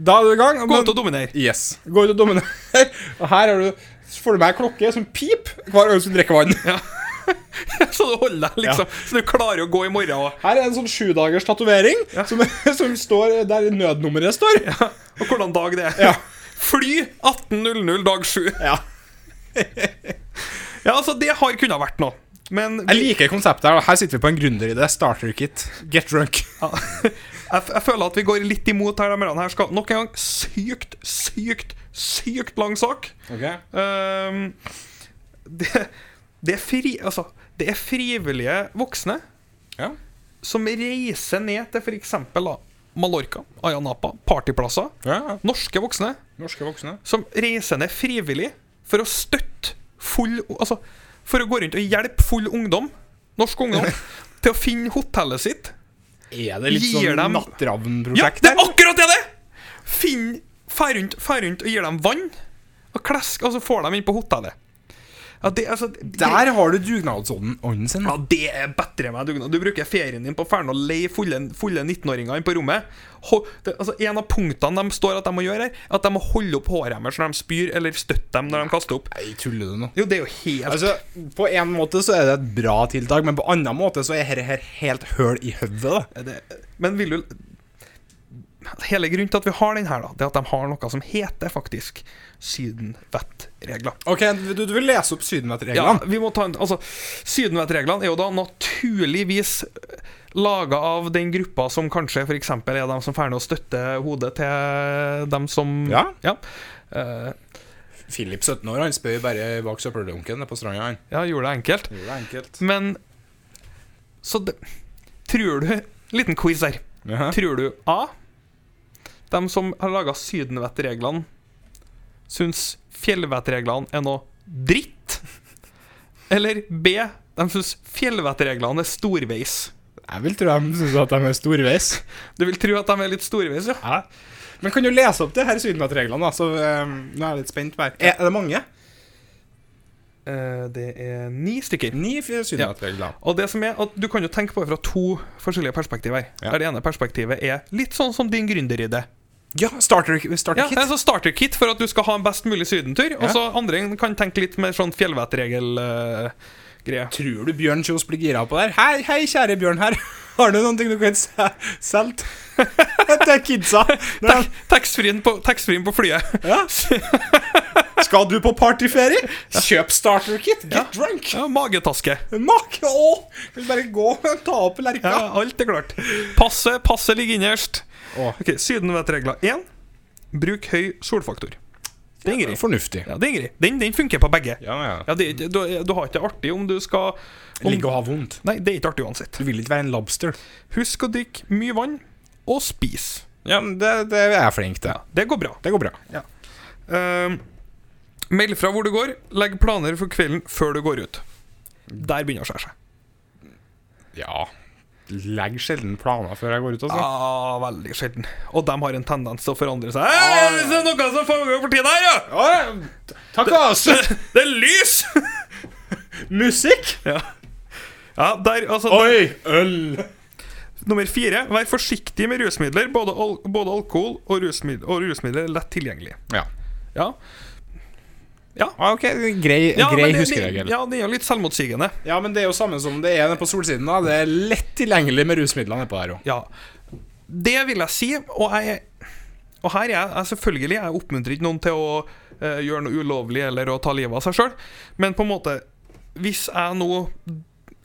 Da er du i gang. Gå men- ut og dominer. Yes. Gå ut og dominerer. Og her har du, så får du med ei klokke som pip hver gang du drikker vann. Så du holder deg liksom Så du klarer å gå i morgen òg. Her er en sånn sjudagers tatovering som, som står der nødnummeret står. Og hvordan dag det er. Ja. Fly 18.00 dag 7. Ja. Ja, altså, det har kunnet ha vært noe. Men Jeg liker konseptet her. da. Her sitter vi på en gründer i det. Starter kit. Get drunk. Ja. Jeg, f- jeg føler at vi går litt imot her. De her skal nok en gang sykt, sykt, sykt lang sak. Ehm, det, det, er fri, altså, det er frivillige voksne Ja. som reiser ned til f.eks. Mallorca, Ayanapa, partyplasser. Ja, Norske voksne Norske voksne. som reiser ned frivillig for å støtte full Altså for å gå rundt og hjelpe full ungdom, norsk ungdom, til å finne hotellet sitt. Er det litt Gir sånn dem- Ja, Nattravn-prosjekt? det er her? akkurat det det er! Finn Fær rundt, fær rundt og gir dem vann, og klesk, og så får de inn på hotellet. Ja, det, altså, Der har du dugnadsånden ånden sin. Ja, det er bedre med dugnad. Du bruker ferien din på å ferne og leie fulle, fulle 19-åringer inn på rommet. Ho, det, altså, en av punktene de står at de må gjøre, her, er at de må holde opp hårhemmers når de spyr, eller støtte dem når de kaster opp. Nei, tuller du nå? Jo, det er jo helt Altså, På en måte så er det et bra tiltak, men på annen måte så er dette her helt høl i hodet. da. det, Men vil du Hele grunnen til at vi har den her, da, det er at de har noe som heter faktisk sydenvettregler. Ok, du, du vil lese opp Ja, sydenvettreglene? vi må ta en Altså, sydenvettreglene er jo da naturligvis laga av den gruppa som kanskje for eksempel er dem som ferner å støtte hodet til dem som Ja. Ja, Eh, Philip, 17 år, han spør bare bak søppeldunken på stranda. han. ja gjorde det enkelt. Det er enkelt. Men Så det, tror du Liten quiz her. Jaha. Tror du A. Dem som har laga sydenvettreglene, syns fjellvettreglene er noe dritt? Eller B. De syns fjellvettreglene er storveis. Jeg vil tro de syns at de er storveis. Du vil tro at de er litt storveis, ja? Men kan du lese opp det her sydenvettreglene, da? Så eh, nå er jeg litt spent. på her. Er, er det mange? Eh, det er ni stykker. Ni sydenvettregler. Og det som er at Du kan jo tenke på det fra to forskjellige perspektiver. Ja. Der Det ene perspektivet er litt sånn som din gründeridé. Ja, starter, starter Ja, kit. altså starter kit for at du skal ha en best mulig sydentur. Og så andre kan tenke litt mer sånn eh, fjellvettregel-greie. Tror du Bjørn Kjos blir gira på der? Hei, hei, kjære Bjørn her. Har du noen ting du kan se- selge til kidsa? Nei. Taxfree-en på, taxfree-en på flyet. Ja. Skal du på partyferie? Kjøp starter kit. Get drunk. Ja, magetaske. Mak! Å! Kan du bare gå og ta opp Ja, lerka? alt er klart. Passet passe ligger innerst. Å. Ok, Sydenvettregler 1. Bruk høy solfaktor. Det er Ingrid. Fornuftig. Ja, det er Ingrid. Den, den funker på begge. Ja, ja. det, er ikke- du, du har ikke det artig om du skal om, Ligge og ha vondt. Nei, det er ikke artig uansett. Du vil ikke være en lobster. Husk å drikke mye vann, og spis. Ja, men det, det er jeg flink til. Det går bra. Det går bra. Ehm, meld fra hvor du går, legg planer for kvelden før du går ut. Der begynner det å skjære seg. Ja. legger sjelden planer før jeg går ut. Altså. Ja, Ah, veldig sjelden. Og de har en tendens til å forandre seg. Hei, det er noe som foregår for tiden her, ja! Takk, ass! Det er lys! Musikk! Ja, ja der, altså der- Oi! Øl! Nummer fire. Vær forsiktig med rusmidler. Både, al både alkohol og rusmidler, og rusmidler er lett tilgjengelig. Ja. Ja. Ah, ok, grei, Ja, grei men det- huskeregel. Ja, det er jo litt selvmotsigende. Ja, men det er jo samme som det er nede på solsiden. da Det er lett tilgjengelig med rusmidler nedpå der òg. Ja. Det vil jeg si, og jeg og her er jeg, jeg selvfølgelig jeg oppmuntrer ikke noen til å eh, gjøre noe ulovlig eller å ta livet av seg sjøl, men på en måte Hvis jeg nå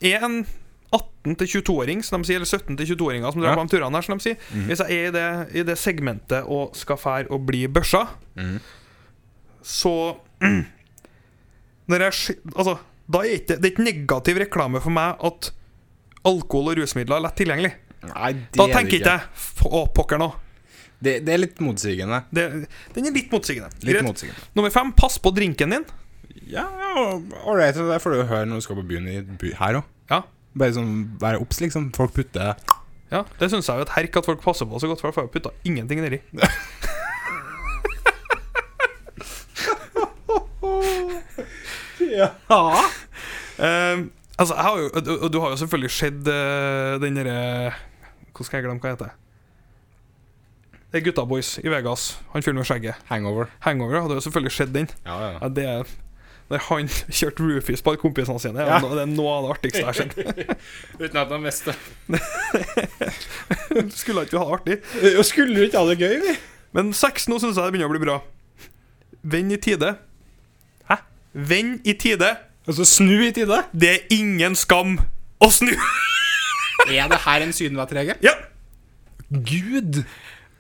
er en 18-22-åring, som de sier, eller 17-22-åringer som drar Ja. på de turene her, som de sier Hvis jeg er i det, i det segmentet og skal fære og bli børsa, så når jeg, sky- altså, da er ikke, Det er ikke negativ reklame for meg at alkohol og rusmidler er lett tilgjengelig. Nei, det Da er det tenker ikke jeg "F- Å, pokker nå. Det, det er litt motsigende. Det, den er litt motsigende. Litt Greit. motsigende. Nummer fem, pass på drinken din. Ja, ja, ålreit. Det får du jo høre når du skal på byen i by her òg. Ja, Bare sånn, være obs, liksom. Folk putter ja Det syns jeg er jo et herk at folk passer på så godt, for jeg får jo putta ingenting nedi. Eh, altså, jeg har jo og du- Og du har jo selvfølgelig sett eh, den derre Hvordan skal jeg glemme hva det heter? Det er Gutta Boys i Vegas. Han fyren med skjegget. hangover. Hangover hadde jo selvfølgelig sett den. Ja, Ja, det er Når han kjørte roofies på alle kompisene sine, Ja. ja. det er noe av det artigste jeg har sett. Uten at de visste Skulle ikke vi ha det artig? det. Skulle jo ikke ha det gøy, vi. Men seks nå syns jeg det begynner å bli bra. Vend i tide. Hæ? Vend i tide. Altså, snu i tide. Det er ingen skam å snu. Er det her en sydenvettregel? ja, Gud!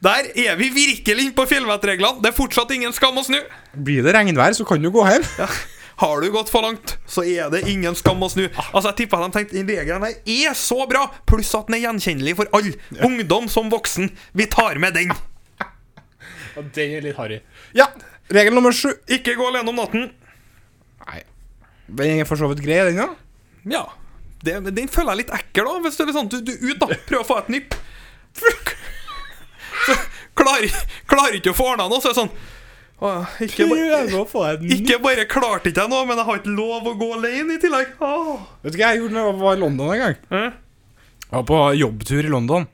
Der er vi virkelig inne på fjellvettreglene. Det er fortsatt ingen skam å snu. Blir det regnvær, så kan du gå hjem. Har du gått for langt, så er det ingen skam å snu. Altså, Jeg tippa de tenkte den regelen her er så bra, pluss at den er gjenkjennelig for alle. Ungdom som voksen. Vi tar med den. Og den er litt harry. Ja, regel nummer sju. Ikke gå alene om natten. Nei. Den er for så vidt grei, den, da. Ja. Det, den føler jeg litt ekkel, da. Hvis det er sånn, du, du ut, da. Prøv å få et nipp. Fuck. Så klarer, klarer ikke å få ordna noe, så er det sånn å, ikke, ba- å få deg en ikke bare klarte ikke jeg noe, men jeg har ikke lov å gå alene i tillegg. Åh. Vet du hva jeg gjorde da jeg var i London en gang? Hæ? Jeg var på jobbtur i London.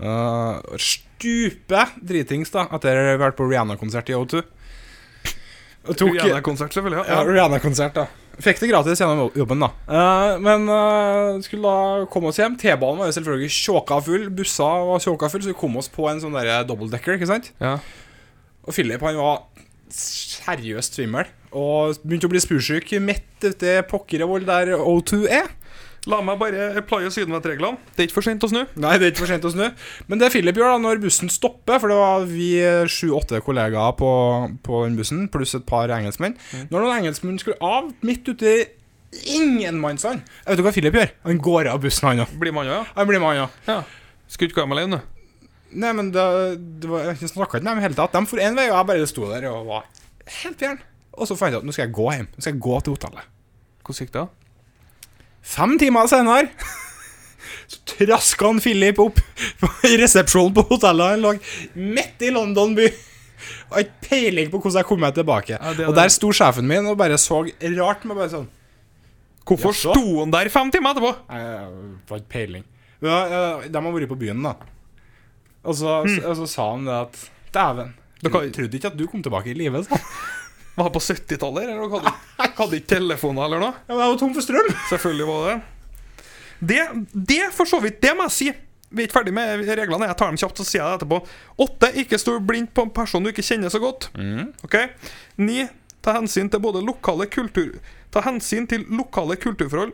Uh, stupe dritings da etter å ha vært på Rihanna-konsert i O2. Og tok, Rihanna-konsert, ja, selvfølgelig. Ja. Ja. Rihanna-konsert, da. Fikk det gratis gjennom jobben, da. Eh, men eh, skulle da komme oss hjem. T-banen var jo selvfølgelig tjåka full. Busser var tjåka full, så vi kom oss på en sånn derre dobbeltdecker, ikke sant? Ja. Og Philip han var seriøst svimmel. Og begynte å bli spursyk midt ute i pokkerevoll der O2 er. La meg bare plaie sydenvettreglene. Det er ikke for sent å snu. Nei, det er ikke for sent å snu. Men det Philip gjør da når bussen stopper, for det var vi eh, sju-åtte kollegaer på, på den bussen, pluss et par engelskmenn Når noen engelskmenn skulle av, midt ute i ingenmannsland Jeg vet du hva Philip gjør? Han går av bussen, han òg. Blir man jo, ja. Han blir med, han òg. ja. Skulle ikke gå hjem alene, du. Nei, men det, det var, jeg snakka ikke med dem i det hele tatt. De for én vei, og jeg bare sto der og var helt fjern. Og så fant jeg ut nå skal jeg gå hjem. Nå skal jeg gå til hotellet. Hvordan gikk det? da? Fem timer senere så traska han Philip opp i resepsjonen på hotellet han lå midt i London by. Og ikke peiling på hvordan jeg kom meg tilbake. det er og det. der sto sjefen min og bare så rart med bare sånn Hvorfor Jaså? sto han der fem timer etterpå? Nei, jeg får ikke peiling. Ja, ja, de har vært på byen, da. Og så, så, og så sa han det at Dæven. Du Dere- trodde ikke at du kom tilbake i live. sa han. Var det på 70-tallet, eller noe? Hadde, hadde ikke telefoner eller noe? Ja, men jeg var tom for strøm. Selvfølgelig var det det. Det for så vidt, det må jeg si. Vi er ikke ferdig med reglene. Jeg tar dem kjapt, så sier jeg det etterpå. Åtte, ikke stol blindt på en person du ikke kjenner så godt. Ok? Ni, ta hensyn til både lokale kultur... Ta hensyn til lokale kulturforhold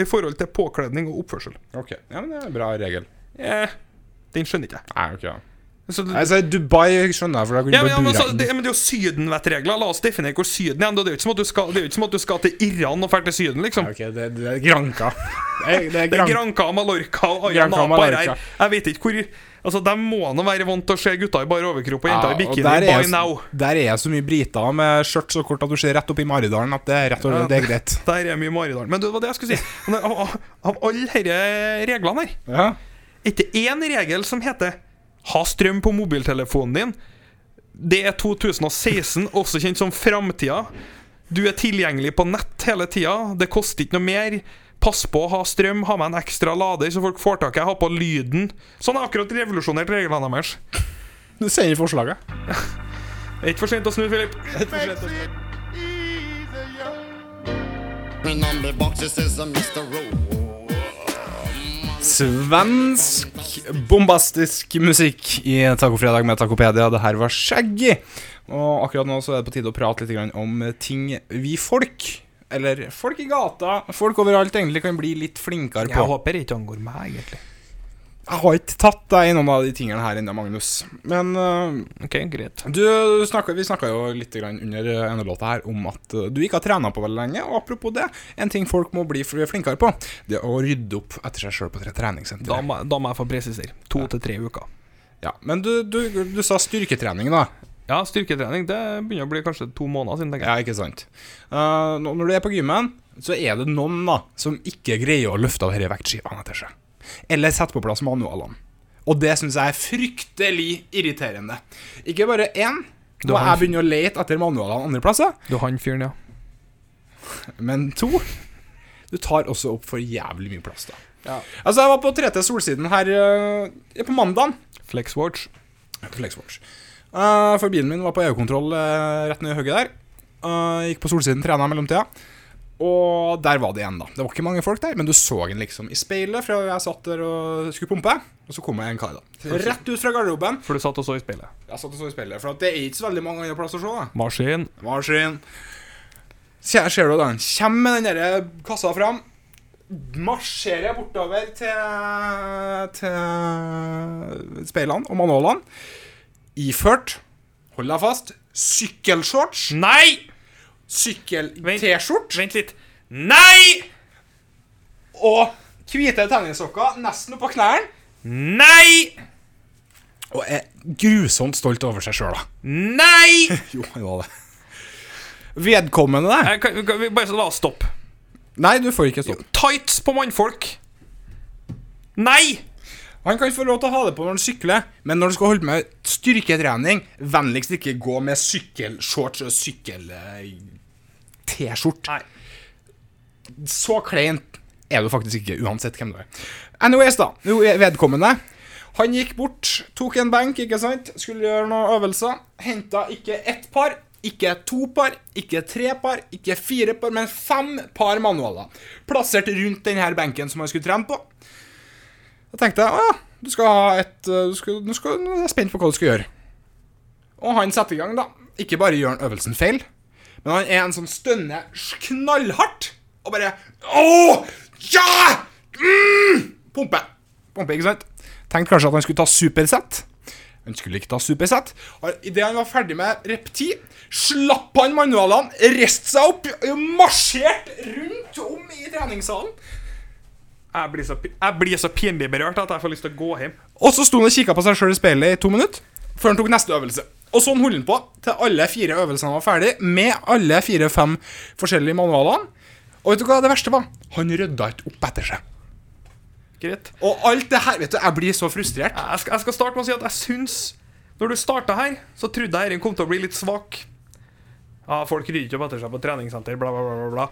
i forhold til påkledning og oppførsel. Ok, ja, men det er en bra regel. Eh, den skjønner ikke jeg. Nei, ok ja. Så, Nei, så Dubai skjønner jeg, for da kunne ja, men, ja, bare men, bura så, det, men det er jo sydenvettregler. La oss definere hvor Syden er. Det er jo ikke som at du skal, det er jo ikke som at du skal til Iran og dra til Syden, liksom. Ok, det, det er granka. Eh, Det er Det er Gran- Granca og Mallorca og alle Granca og naboer Mallorca. her. Jeg vet ikke hvor Altså, De må nå være vant til å se gutta i bare overkropp og Ja, jenter i og bikini der er, by jeg- now. der er jeg så mye briter med skjørt så kort at du ser rett opp i Maridalen at det er rett og slett det er greit. Der er mye Maridalen. Men du, det var det jeg skulle si. Men Av, av, av alle disse reglene her, Ja. er ikke én regel som heter 'ha strøm på mobiltelefonen din'. Det er 2016, også kjent som framtida. Du er tilgjengelig på nett hele tida. Det koster ikke noe mer. Pass på å ha strøm, ha med en ekstra lader så folk får tak i. Ha på lyden. Sånn har jeg akkurat revolusjonert reglene deres. Du sender forslaget. Det er ikke for sent å snu, Filip. Svensk bombastisk musikk i Tacofredag med Tacopedia. Det her var Shaggy. Og akkurat nå så er det på tide å prate litt grann om ting vi folk, eller folk i gata, folk overalt, egentlig kan bli litt flinkere på. håper det ikke angår meg, egentlig. Jeg har ikke tatt deg i noen av de tingene her ennå, Magnus. Men øh, Ok, greit. du snakka, vi snakka jo litt grann under ene låta her om at eh, du ikke har trena på veldig lenge. Og apropos det, en ting folk må bli fl- flinkere på, det er å rydde opp etter seg sjøl på tre- Da treningssenteret. må, da må jeg få presisere. To til tre uker. Ja, men du, du, du sa styrketrening, da. Ja, styrketrening det begynner å bli kanskje to måneder siden. tenker jeg Ja, ikke sant. Eh, nå- når du er på gymmen, så er det noen da som ikke greier å løfte av disse vektskivene etter seg. Eller sette på plass manualene. Og det syns jeg er fryktelig irriterende. Ikke bare én. Du Nå har- jeg begynner å lete etter manualene andre plasser, Du han fyren, ja. men to Du tar også opp for jævlig mye plass, da. Altså, jeg var på 3T Solsiden her eh, på mandagen. Flexwatch. Flexwatch. Eh, for bilen min var på EU-kontroll eh, rett ned i hugget der. Eh, gikk på solsiden, trena i mellomtida. Og der var det igjen, da. Det var ikke mange folk der, men du så den liksom i speilet fra jeg satt der og skulle pumpe. Og så kom jeg en kar, da. Rett ut fra garderoben. For du satt og så i speilet. Jeg satt og så i speilet, for at det er ikke så veldig mange andre plasser å se. da. Maskin. Maskin. Ser, ser du den? Kjem med den der kassa fram. Marsjerer jeg bortover til, til speilene og manualene. Iført, hold deg fast, sykkelshorts, Nei! sykkel-T-skjort Vent litt. Nei! og hvite tennissokker nesten oppå knærne. Nei! Og er grusomt stolt over seg sjøl, da. Nei! Jo, det var det. Vedkommende der? Jeg Eh, kan, kan vi bare så la oss stoppe. Nei, du får ikke stopp. Tights på mannfolk. Nei! Han kan få lov til å ha det på når han sykler, men når du skal holde med styrketrening, vennligst ikke gå med sykkelshorts og sykkel-T-skjort. Nei. Så kleint er du faktisk ikke, uansett hvem du er. Anyways, da. Jo, vedkommende. Han gikk bort, tok en benk, ikke sant? Skulle gjøre noen øvelser. Henta ikke ett par, ikke to par, ikke tre par, ikke fire par, men fem par manualer. Plassert rundt denne benken som han skulle trene på. Da tenkte jeg, å ja, du skal ha et eh, du skal, du skal, Jeg er spent på hva du skal gjøre. Og han setter i gang, da. Ikke bare gjør han øvelsen feil, men han er en som stønner knallhardt og bare Åh! Ja! Mm! Pumpe. Pumpe, ikke sant? Tenkte kanskje at han skulle ta supersett. Han skulle ikke ta supersett. Idet han var ferdig med rep 10, slapp han manualene, reiste seg opp, marsjerte rundt om i treningssalen. Jeg blir så, pi- jeg blir så pinlig berørt at jeg får lyst til å gå hjem. Og så sto han og kikka på seg sjøl i speilet i to minutter før han tok neste øvelse. Og sånn holdt han på til alle fire øvelsene var ferdig, med alle fire-fem forskjellige manualene. Og vet du hva det verste var? Han rydda ikke opp etter seg. Greit. Og alt det her, vet du, jeg blir så frustrert. Jeg skal, jeg skal starte med å si at jeg syns Når du starta her, så trodde jeg dette kom til å bli litt svak. Ja, folk rydder ikke opp etter seg på treningssenter, bla, bla, bla. bla, bla.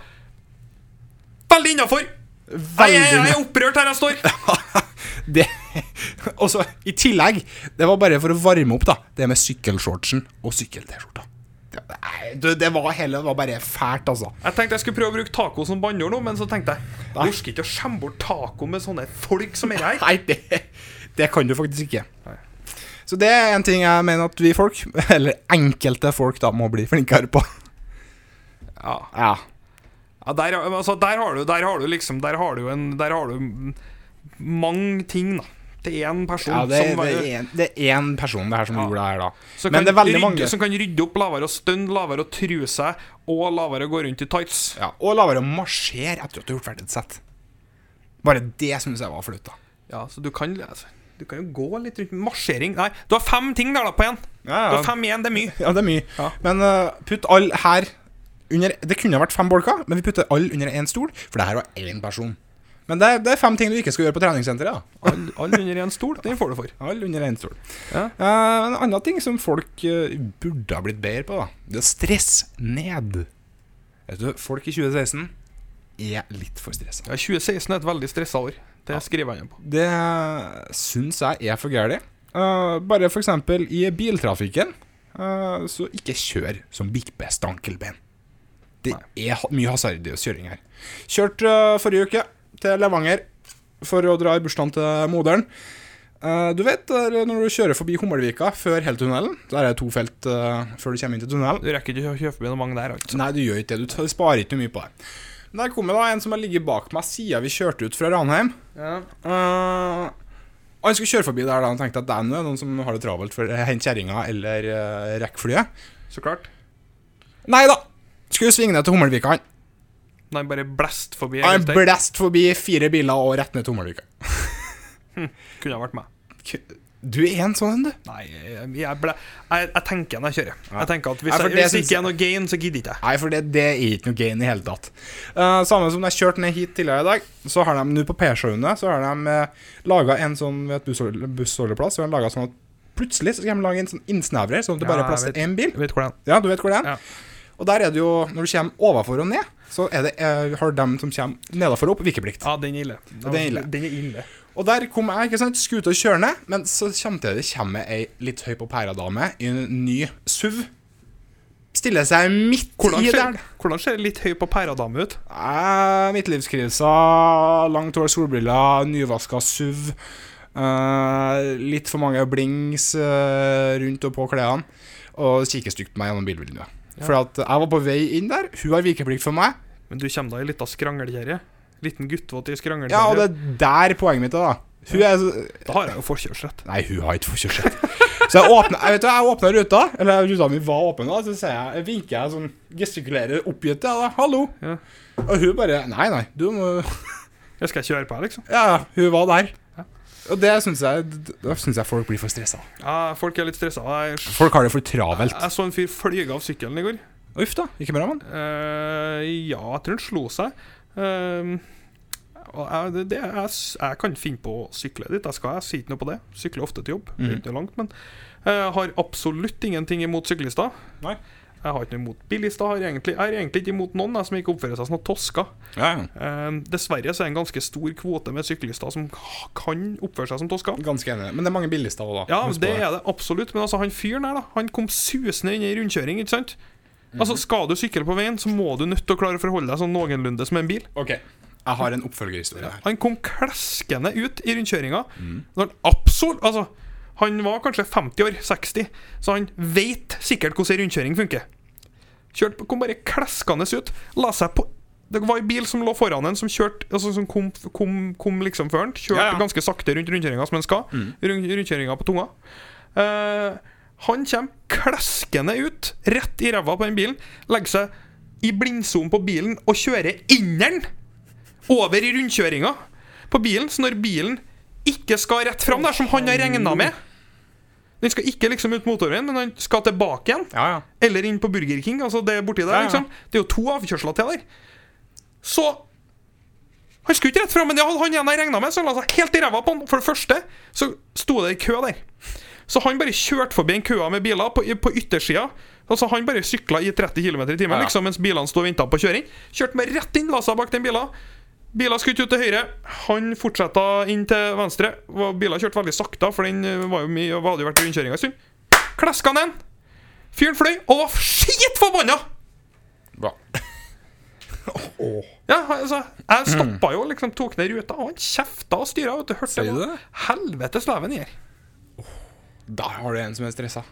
Veldig innafor! Jeg, jeg, jeg er opprørt her jeg står. Det, og så, i tillegg, det var bare for å varme opp, da. Det med sykkelshortsen og sykkel-T-skjorta. Det, nei, du, det var hele Det var bare fælt, altså. Jeg tenkte jeg skulle prøve å bruke taco som banneord nå, men så tenkte jeg Jeg orker ikke å skjemme bort taco med sånne folk som er her. Nei, det, det kan du faktisk ikke. Så det er en ting jeg mener at vi folk, eller enkelte folk, da må bli flinkere på. Ja. Ja. Ja, der, altså, der har du Der har du liksom Der har du en Der har du mm, mange ting, da. Til én person det, er- som det, er en, det er én person det her som gjorde det her, da. som Men kan det er veldig rydde, mange. Som kan rydde opp, lavere å stønne, lavere å true seg, og lavere å gå rundt i tights. Ja, og lavere å marsjere etter at du har gjort ferdig et sett. Bare det syns jeg var flaut, da. Ja, så du kan, altså, du kan jo gå litt rundt Marsjering Nei, du har fem ting der da på én! Du har fem igjen, det er mye. Ja, det er mye. Men eh, putt alle her under Det kunne vært fem bolker, men vi putter alle under én stol, for det her var én person. Men det er, det er fem ting du ikke skal gjøre på treningssenteret. da Alle all under én stol, den får du for. Alle under én stol. Ja. Eh, en annen ting som folk eh, burde ha blitt bedre på, da Det er stress ned. Vet du, folk i 2016 er litt for stressa. Ja, 2016 er et veldig stressa år. Det skriver jeg ned på. Det syns jeg er for gærent. Uh, bare for eksempel i biltrafikken, eh, så ikke kjør som bikkjestankelben. Det er ha- mye hasardiøs kjøring her. Kjørt eh, forrige uke til Levanger for å dra i bursdagen til moderen. Eh, du vet der når du kjører forbi Hummelvika før hele tunnelen? Der er det to felt eh, før du kommer inn til tunnelen. Du rekker ikke å kjøpe forbi noen mange der, altså. Nei, du gjør ikke det. Du tar- sparer ikke mye på det. Men Der kom det da en som har ligget bak meg siden vi kjørte ut fra Ranheim. Eh, og han skulle kjøre forbi der da han tenkte at det er noe, noen som har det travelt for å hente kjerringa eller uh, rekke flyet. Så klart. Nei da! Skulle svinge ned til Hummelvika. han. Nei, bare blest forbi. Han helt der. blæst forbi fire biler og rett ned til Hummelvika. Kunne ha vært meg. Du er en sånn, du. Nei, jeg, jeg, ble, jeg, jeg tenker når jeg kjører. Jeg tenker at Hvis, Nei, for jeg, det hvis det synes ikke er noe gain, så gidder ikke jeg. Nei, for det, det er ikke noe gain i hele tatt. Eh, samme som de kjørte ned hit tidligere i dag, så har de nå på P-showene Så har de uh, laga en sånn ved et busshold- bussholdeplass. Så har de laget sånn at plutselig så skal de lage en sånn innsnevrer, sånn at det Ja, bare jeg er plass til vet. én bil. Jeg vet hvordan. Ja, du vet hvor det er? Ja. Og der er det jo, når du kommer overfor og ned, så er det, eh, har dem som kommer nedenfor og opp, vikeplikt. Ja, den er ille. Den er ille. Den er ille. Og der kom jeg, ikke sant, skulle ut og kjøre ned, men så samtidig kommer ei litt høy på pæra-dame i en ny SUV. Stiller seg midt Hvordan i ser, der. hvordan ser litt høy på pæradame ut? Eh, midtlivskrisa, langt hår, solbriller, nyvaska SUV. eh, litt for mange blings eh, rundt og på klærne. Og kikker stygt på meg gjennom bilvinduet. For at jeg var på vei inn der, hun har vikeplikt for meg. Men du kommer da i ei lita skranglekjerre? Liten guttvåt i skranglekjerre? Ja, og det er der poenget mitt er, da. Hun er så Da har jeg jo forkjørsrett. Nei, hun har ikke forkjørsrett. Så jeg åpna, jeg vet du, jeg åpna ruta, eller ruta mi var åpen, da, så sier jeg, jeg vinker jeg sånn, gestikulerer oppgitt. Ja, da, 'Hallo.' Ja. Og hun bare 'Nei, nei, du må Jeg skal kjøre på her, liksom. Ja, hun var der. Og det syns jeg, da synes jeg folk blir for stressa. Ja, folk er litt stressa. Jeg, Folk har det for travelt. jeg så en fyr flyge av sykkelen i går. Uff da, ikke bra, mann. Eh, ja, jeg tror han slo seg. Eh, og jeg, det, det, jeg, s- jeg kan finne på å sykle dit. Jeg skal, jeg sier ikke noe på det. Sykler ofte til jobb. Det Mhm. er Ikke noe langt, men eh, jeg har absolutt ingenting imot syklister. Nei. Jeg har ikke noe imot bilister. Jeg, har egentlig, jeg er egentlig ikke imot noen jeg, som ikke oppfører seg som noen tosker. Eh, dessverre så er det en ganske stor kvote med syklister som k- kan oppføre seg som tosker. Ganske enig. Men det er mange bilister òg, da. Ja, Husk på det er det absolutt. Men altså, han fyren her, da. Han kom susende inn i rundkjøring, ikke sant? Mhm. Altså, Skal du sykle på veien, så må du nødt til å klare å forholde deg sånn noenlunde som en bil. Ok, jeg har en oppfølgerhistorie her. Han kom kleskende ut i rundkjøringa. Mm. Når Han absolutt Altså, han var kanskje 50 år, 60, så han veit sikkert hvordan ei rundkjøring funker. Kjørte, på- kom bare kleskende ut. La seg på Det var ei bil som lå foran en, som kjørte altså, Som kom, kom, kom liksom før han. Kjørte Ja, Mm. ja. ganske sakte rundt rundkjøringa som han skal. Rund, rundkjøringa på tunga. Eh, han kommer kleskende ut, rett i ræva på den bilen, legger seg i blindsonen på bilen og kjører inneren over i rundkjøringa på bilen, så når bilen ikke skal rett fram der, som han har regna med Den skal ikke liksom ut motorveien, men han skal tilbake igjen. Ja, ja. Eller inn på Burger King. Altså Det er borti der ja. liksom Det er jo to avkjørsler til der. Så Han skulle ikke rett fram, men det hadde han igjen jeg regna med, så han la seg helt i ræva på han. For det første så sto det ei kø der. Så han bare kjørte forbi en køa med biler på, på yttersida. Altså Han bare sykla i 30 km i timen Ja. liksom mens bilene sto og venta på kjøring. Kjørte meg rett inn, la seg bak den bila. Biler skutt ut til høyre. Han fortsetta inn til venstre. Og Biler kjørte veldig sakte, for den eh, var jo mye, hadde jo vært i rundkjøringa en stund. Kleska han en. Fyren fløy og var skitforbanna! Bra. Ja, altså, jeg Mm. stoppa jo, liksom, tok ned ruta, og han kjefta og styra. vet du, Hørte Sier du hva det? Helvetes leven i her. Da har du en som er stressa.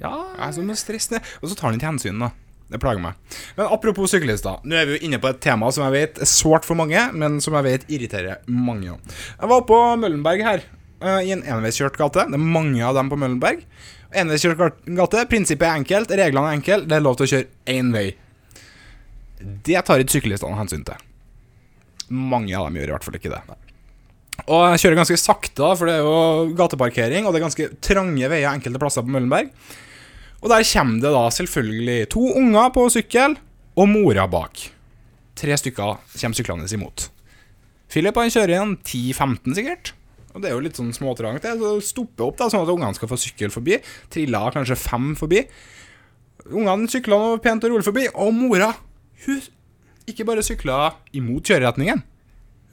Ja, Jeg er sånn, som er stressende. Og så tar han ikke hensyn, da. Det plager meg. Men apropos syklister. Nå er vi jo inne på et tema som jeg vet er sårt for mange, men som jeg vet irriterer mange. også. Jeg var på Møllenberg her, eh, i en enveiskjørt gate. Det er mange av dem på Møllenberg. Enveiskjørt gar- gate. Prinsippet er enkelt, reglene er enkle. Det er lov til å kjøre én vei. Det tar ikke syklistene hensyn til. Mange av dem gjør i hvert fall ikke det. Og jeg kjører ganske sakte, da, for det er jo gateparkering, og det er ganske trange veier enkelte plasser på Møllenberg. Og der kommer det da selvfølgelig to unger på sykkel, og mora bak. Tre stykker kommer syklende imot. Philip han kjører igjen 10-15 sikkert. Og det er jo litt sånn småtrangt. det, Så stopper opp da, sånn at ungene skal få sykkel forbi. Triller kanskje fem forbi. Ungene sykler nå pent og rolig forbi, og mora hun ikke bare sykler imot kjøreretningen.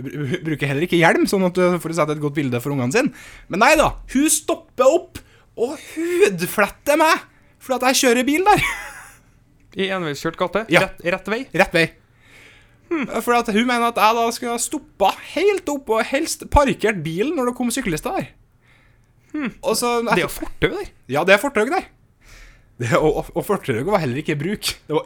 Hun br- hun bruker heller ikke hjelm, sånn at du får sett et godt bilde for ungene sine. Men nei da, hun stopper opp og hudfletter meg fordi at jeg kjører bil der. I enveiskjørt gate? Ja. Rett, rett vei? Rett vei. For at hun mener at jeg da skulle ha stoppa helt opp og helst parkert bilen når det kom syklister der. Og så Hmm. Det er jo fortau der. Ja, det er fortau der. Det, og og fortauet var heller ikke i bruk. Det var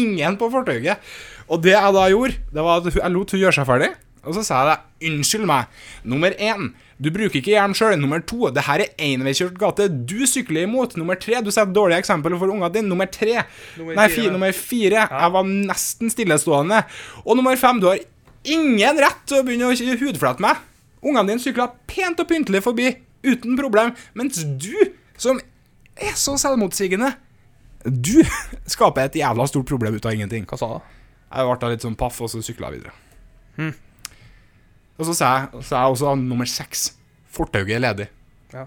ingen på fortauet. Og det jeg da gjorde, det var at hun- jeg lot hun gjøre seg ferdig. Og så sa jeg det. Unnskyld meg. Nummer én, du bruker ikke hjelm sjøl. Nummer to, det her er enveiskjørt gate. Du sykler imot. Nummer tre, du setter dårlige eksempler for ungene dine. Nummer tre. Nummer Nei, fire. fi, nummer fire. Jeg var nesten stillestående. Og nummer fem, du har ingen rett til å begynne å hudflette meg. Ungene dine sykla pent og pyntelig forbi uten problem, mens du, som er så selvmotsigende. Du skaper et jævla stort problem ut av ingenting. Hva sa han? Jeg ble da litt sånn paff, og så sykla jeg videre. Hm. Og så sa jeg, sa jeg også nummer seks. Fortauget er ledig. Ja.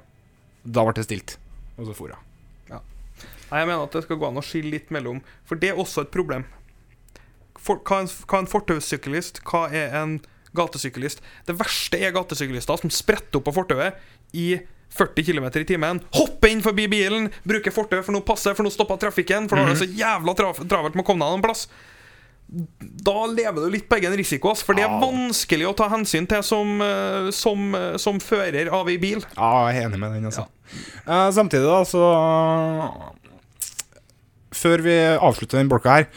Da ble det stilt. Og så for jeg. Nei, Jeg mener at det skal gå an å skille litt mellom For det er også et problem. For, hva er en, hva er en fortaussyklist? Hva er en gatesyklist? Det verste er gatesyklister som spretter opp på fortauet i 40 km i timen, hopper inn forbi bilen, bruker fortauet for nå passer, for nå stopper trafikken, for nå er det så jævla traf- travelt med å komme deg noen plass. Da lever du litt på egen risiko, ass, for det er vanskelig å ta hensyn til som, eh, som, eh, som fører av ei bil. Ja, jeg er enig med den, altså. Eh, samtidig, da, så Før vi avslutter den bolka her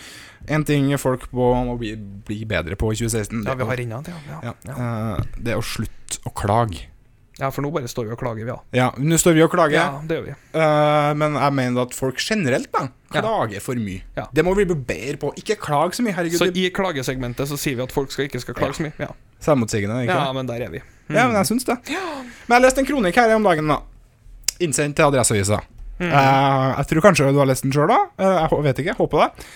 En ting folk må, må bli, bli bedre på i 2016, Ja, vi har det, rinnet, ja, ja, ja, ja. eh, det er å slutte å klage. ja, for nå bare står vi og klager, vi, da. Ja, nå står vi og klager. Ja, det gjør vi. Eh, men jeg mener at folk generelt da klager for mye. Ja. Det må vi bli bedre på. Ikke klag så mye, herregud. Så det- i klagesegmentet så sier vi at folk skal ikke skal klage så mye. Ja. Selvmotsigende, ikke ja, mm. det? men der er vi. Ja, men jeg syns det. Men jeg leste en kronikk her om dagen, da. Innsendt til Adresseavisa. Mm. Eh, jeg tror kanskje du har lest den sjøl, da. Eh, jeg hå- vet ikke. Håper det.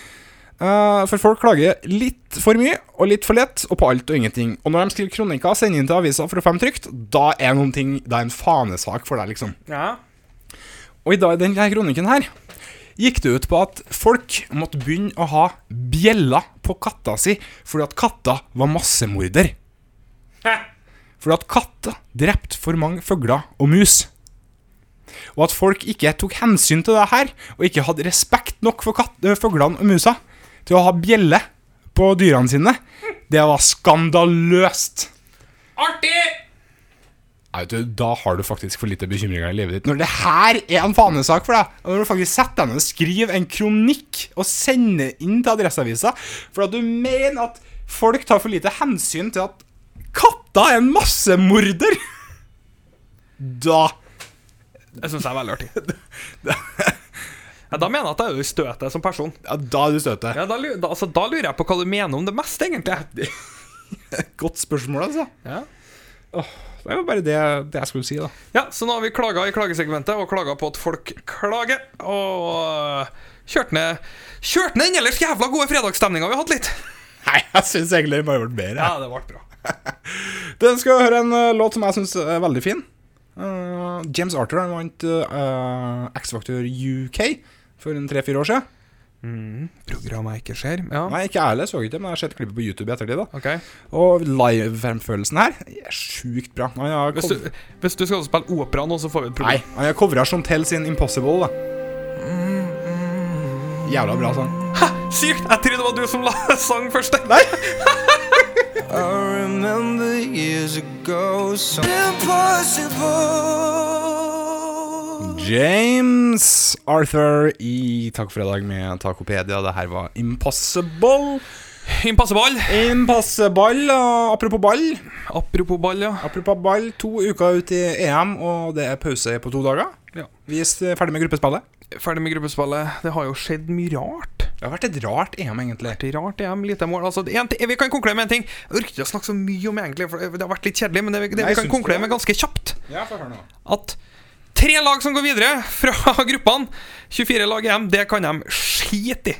Eh, for folk klager litt for mye og litt for lett, og på alt og ingenting. Og når de skriver kronikker og sender inn til avisa for å få dem trygt, da er noen ting Det er en fanesak for deg, liksom. Ja. Og i dag, denne kronikken her gikk det ut på at folk måtte begynne å ha bjeller på katta si fordi at katta var massemorder. Fordi at katta drepte for mange fugler og mus. Og at folk ikke tok hensyn til det her, og ikke hadde respekt nok for katt, øh, fuglene og musa til å ha bjelle på dyrene sine, det var skandaløst. Nei, vet du, da har du faktisk for lite bekymringer i livet ditt. Når det her er en fanesak for deg, og når du faktisk setter deg ned og skriver en kronikk og sender inn til Adresseavisa for at du mener at folk tar for lite hensyn til at katta er en massemorder Da Jeg syns det er veldig artig. Ja, da mener jeg at jeg er jo i støtet som person. ja, Da er du støtet. Ja, da, lu- da, altså, da lurer jeg på hva du mener om det meste, egentlig. Godt spørsmål, altså. Ja. Det var bare det, det jeg skulle si, da. ja, så nå har vi klaga i klagesegmentet, og klaga på at folk klager. Og øh, kjørt ned Kjørt ned den ellers jævla gode fredagsstemninga vi har hatt litt. Nei, jeg syns egentlig det bare ble bedre. Ja, det ble bra. Den skal høre en eh, låt som jeg syns er veldig fin. Eh, James Arthur han vant eh, X-Factor UK for en tre-fire år siden. Programmet jeg ikke ser. Ja. Nei, ikke jeg heller, så ikke det, men jeg har sett klippet på YouTube i ettertid. da Ok. Og live-fremførelsen her er sjukt bra. Han har, Hvis cov du, hvis du skal spille opera nå, så får vi et Nei, problem. han har covra Chantel sin Impossible. da Jævla bra sang. Sykt! Jeg trodde det var du som la sang først. I remember years ago, so impossible. James Arthur i Takk for i dag med Tacopedia. Det her var Impossible. Impasseball. Impossible, og apropos ball. Apropos ball, ja. Apropos ball, to uker ut i EM, og det er pause på to dager. Ja. Vi er ferdig med gruppespillet. Ferdig med gruppespillet. Det har jo skjedd mye rart. Det har vært et rart EM, egentlig. vært rart EM, lite mål. Altså, en, ting- vi kan konkludere med en ting. Jeg orker ikke å snakke så mye om egentlig, for det har vært litt kjedelig, men det, vi- det Nei, vi kan syns du konkludere det? med ganske kjapt, Ja, få høre nå. at tre lag som går videre fra gruppene, 24 lag i EM, det kan de skite i.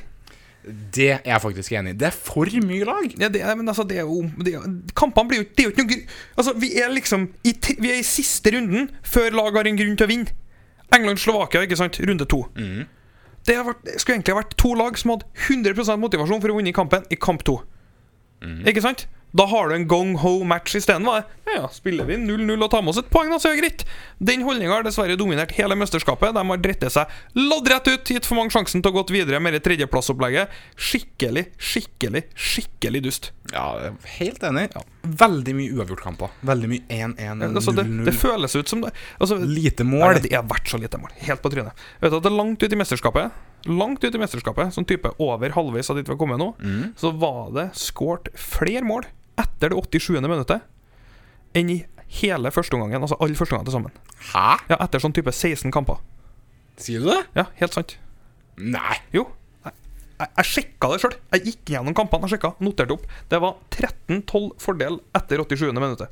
Det er jeg faktisk enig i. Det er for mye lag. Ja, det, er- men altså, det er jo det er, Kampene blir jo Det er jo ikke noe gru- Altså, vi er liksom i, t- Vi er i siste runden før lag har en grunn til å vinne. England-Slovakia, ikke sant? Runde to. Det, har vært, det skulle egentlig ha vært to lag som hadde 100 motivasjon for å vinne i kampen i kamp to. Ikke sant? Da har du en gong-ho-match isteden. hva er det? Ja, ja, spiller vi 0-0 og tar med oss et poeng, da, så er det greit. Den holdninga har dessverre dominert hele mesterskapet. De har dritt seg loddrett ut, gitt for mange sjansen til å gå videre med det tredjeplassopplegget. Skikkelig, skikkelig, skikkelig dust. Ja, jeg er helt enig. Veldig mye uavgjortkamper. Veldig mye 1-1, Altså, det, det 0-0. føles ut som det altså, Lite Nei, mål. det har vært så lite mål. Helt på trynet. Vet du at det er Langt ut i mesterskapet, Langt ut i mesterskapet sånn type over halvveis av dit vi har kommet nå, så var det skåret flere mål etter det 87. minuttet enn i hele førsteomgangen, altså alle førsteomgangene til sammen. Hæ? Ja, Etter sånn type 16 kamper. Sier du det? Ja, helt sant. Nei. Jo. Jeg, jeg, jeg sjekka det sjøl. Jeg gikk gjennom kampene jeg sjekka, noterte opp. Det var 13-12 fordel etter 87. minuttet.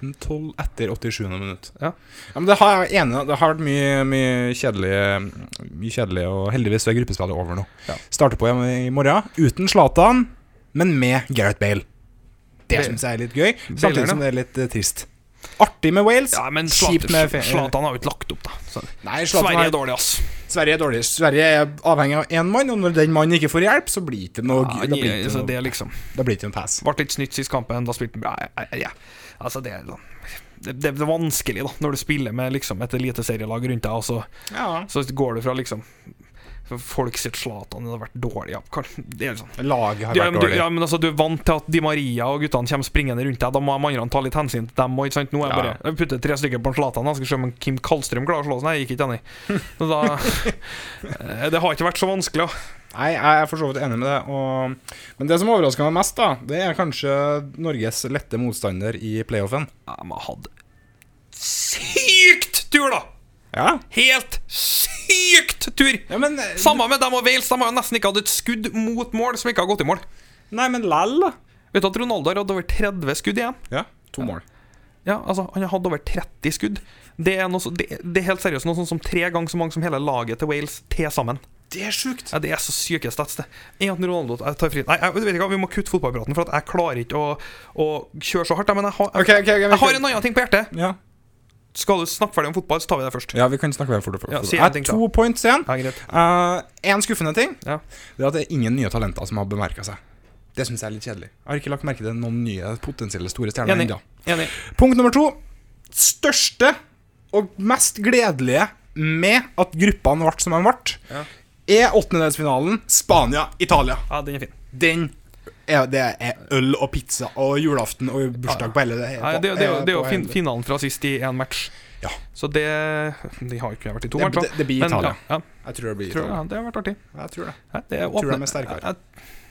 13-12 etter 87. minutt. Ja. Ja, men det har jeg enig i. Det har vært mye, mye, kjedelig, mye kjedelig, og heldigvis er gruppespillet over nå. Ja. Starter på i i morgen uten Zlatan, men med Gareth Bale. Det Bale. syns jeg er litt gøy, Bale, samtidig som det er litt eh, trist. Artig med Wales, Ja, men kjipt med fe- eh, Zlatan har jo ikke lagt opp, da. Så. Nei, Zlatan Sverige er er dårlig, ass. Sverige er dårlig. Sverige er avhengig av én mann, og når den mannen ikke får hjelp, så blir det ikke noe, Ja, da blir det ikke altså, noe, det er liksom da blir det ikke noe pass. Ble litt snytt sist kampen, da spilte han bra. Ja, ja, ja. Altså, det er sånn det, det er vanskelig, da, når du spiller med liksom, et eliteserielag rundt deg, og så, så går du fra liksom Folk sier Zlatan det har vært dårlig. Ja, kanskje, det er sånn. Laget har Du, ja, vært men du, dårlig. ja, men altså, du er vant til at Di Maria og guttene kommer springende rundt deg. Da må de andre ta litt hensyn til dem. Og, ikke sant? Nå er jeg Ja, bare ja. jeg putter tre stykker på en Zlatan. da. Skal se om en Kim Karlstrøm klarer å slå oss. Nei, jeg gikk ikke, Annie. Så Da, Eh, det har ikke vært så vanskelig. Da. Nei, jeg er for så vidt enig med det. Og... Men det som overrasker meg mest, da, det er kanskje Norges lette motstander i playoffen. Ja, men jeg hadde sykt tur, da! Ja, Helt sykt tur! ja men eh, Samme med dem og Wales. De har jo nesten ikke hatt et skudd mot mål som ikke har gått i mål. Nei, men lell, da. Vet du at Ronaldo har hatt over 30 skudd igjen? Ja, to mål. Ja, altså, Han har hatt over 30 skudd. Det er, noe, så- det, det er helt seriøst noe sånn som tre ganger så mange som hele laget til Wales til sammen. Det er sjukt. Ja, Det er så syke stats, det. En at Ronaldo jeg tar fri Nei, jeg, vet du hva, vi må kutte fotballpraten, for at jeg klarer ikke å, å kjøre så hardt. jeg, Men jeg har, jeg, Ok, ok, ok, vi jeg har kan- en annen ting på hjertet. Ja. Skal du snakke ferdig om fotball, så tar vi det først. ja, vi kan snakke mer fort. fort. Ja, si jeg har en ting, to points igjen. Ja, greit. Én skuffende ting Ja. Det er at det er ingen nye talenter som har bemerka seg. Det syns jeg er litt kjedelig. Jeg har ikke lagt merke til noen nye potensielle store stjerner Enig. ennå. Enig. Punkt nummer to. Største og mest gledelige med at gruppene ble som de ble, er E åttendedelsfinalen Spania-Italia. Ja, den er fin. Den er, det er øl og pizza og julaften og bursdag på hele det. Nei, det, er jo- det, er jo- det er jo på fin, hele- finalen fra sist i én match. Ja. Så det De har jo ikke vært i to Det- matcher. det- det blir men Italia. Ja, ja, Jeg tror det blir jeg tror, ja, Italia. det har vært artig. Jeg tror det. Nei, det er Tror de åpner, er sterkere. Jeg,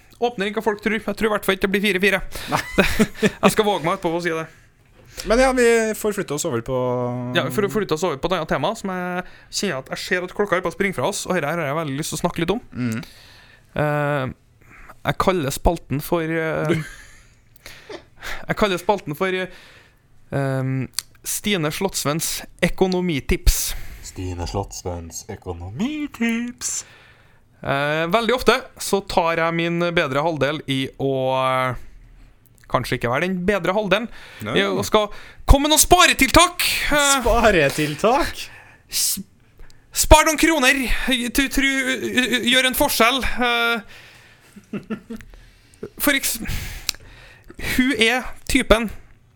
jeg, åpner ikke hva folk tror. Jeg tror i hvert fall ikke det blir 4-4. Det- Jeg skal våge meg etterpå å si det. Men ja, vi får flytte oss over på Ja, Mm. for å flytte oss over på et annet tema, som jeg kjenner at jeg ser at klokka er på å springe fra oss, og dette her har jeg veldig lyst til å snakke litt om. Mm. Eh, jeg kaller spalten for eh, Jeg kaller spalten for eh, eh, Stine Slottsvens økonomitips. Stine Slottsvens økonomitips. Eh, veldig ofte så tar jeg min bedre halvdel i å eh, Kanskje ikke være den bedre halvdelen. Nei. Jeg skal komme med noen sparetiltak. Eh, Sparetiltak. spar noen kroner. Du, tru, gjør en forskjell. Eh, for eks... Hun er typen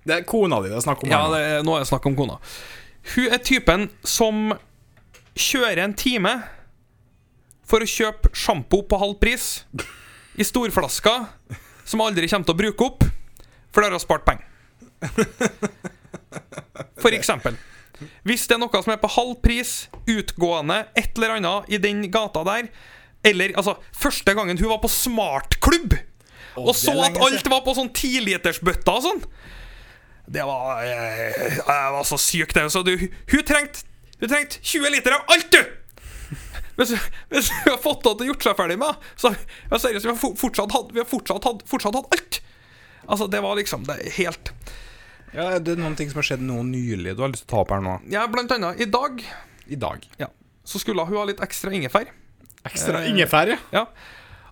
Det er kona di det er snakk om. Ja, her nå. det, er- nå er det snakk om kona. Hun er typen som kjører en time for å kjøpe sjampo på halv pris i storflasker som hun aldri kommer til å bruke opp, for der har hun spart penger. For eksempel. Hvis det er noe som er på halv pris, utgående, et eller annet i den gata der Eller altså, første gangen hun var på smartklubb og så at alt var på sånn tilitersbøtter og sånn. Det var Jeg, jeg var så syk, det. Så du, hun trengte hun trengte 20 liter av alt, du! Hvis, hvis vi har fått det til gjort seg ferdig med, så ja, seriøst, vi har fo- fortsatt hatt, vi har fortsatt hatt, fortsatt hatt alt. Altså, det var liksom det er helt Ja, det er noen ting som har skjedd noe nylig du har lyst til å ta opp her nå. Ja, blant annet i dag I dag. ja, så skulle hun ha litt ekstra ingefær. Eh, Ekstra ingefær, ja. Ja.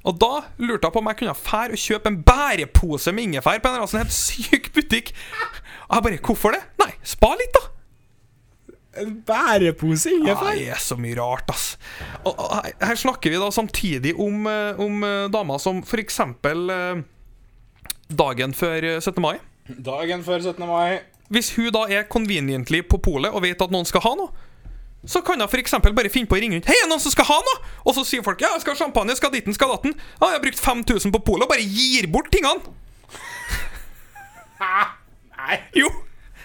Og da lurte jeg på om jeg kunne fære og kjøpe en bærepose med ingefær på en eller annen sånn helt syk butikk. Og jeg bare Hvorfor det? Nei, spa litt, da. En bærepose Ja, det er så mye rart, ass. Og, og, her- her snakker vi da samtidig om, eh, om eh, damer som for eksempel eh, dagen før eh, 17. mai. Dagen før 17. mai. Hvis hun da er conveniently på polet og vet at noen skal ha noe, så kan hun for eksempel bare finne på å ringe rundt. 'Hei, er det noen som skal ha noe?' Og så sier folk 'Ja, jeg skal ha champagne, jeg skal ha ditten, jeg skal ha datten'. Ja, 'Jeg har brukt 5000 på polet', og bare gir bort tingene. Nei. Jo.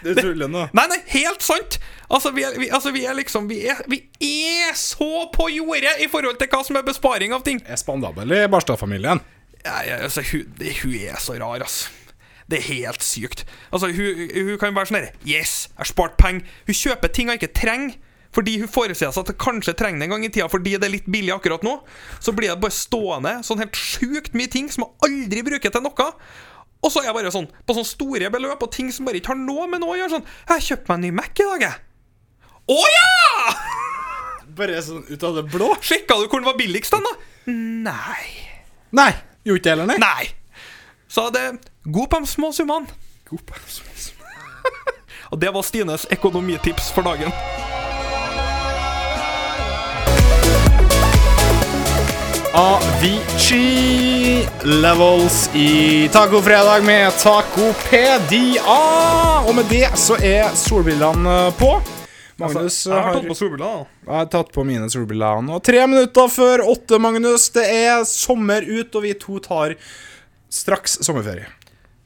Du tuller nå. Nei, nei, helt sant! Altså, vi er, vi, altså, vi er liksom vi er, vi er så på jordet i forhold til hva som er besparing av ting! Er spandabel i Barstad-familien. Nei, altså, hun, det, hun er så rar, ass. Det er helt sykt. Altså, hun, hun kan være sånn her Yes, jeg har spart penger. Hun kjøper ting hun ikke trenger. Fordi hun forestiller seg at hun kanskje trenger det en gang i tida fordi det er litt billig akkurat nå. Så blir det bare stående sånn helt sjukt mye ting som hun aldri bruker til noe. Og så er jeg bare sånn på sånne store beløp og ting som bare ikke har noe med noe å gjøre. Sånn Jeg kjøpte meg en ny Mac i dag, jeg. Å ja! Bare sånn ut av det blå? Sjekka du hvor den var billigst, den, da? Nei. Nei. Gjorde ikke det heller, nei. Nei. Så det god på de små summene. God pensjonist. Og det var Stines økonomitips for dagen. Avicii Levels i Tacofredag med Tacopedia. Og med det så er solbrillene på. Magnus Altså, har, solbriller. jeg har tatt på mine solbriller nå. Tre minutter før åtte, Magnus. Det er sommer ut, og vi to tar straks sommerferie.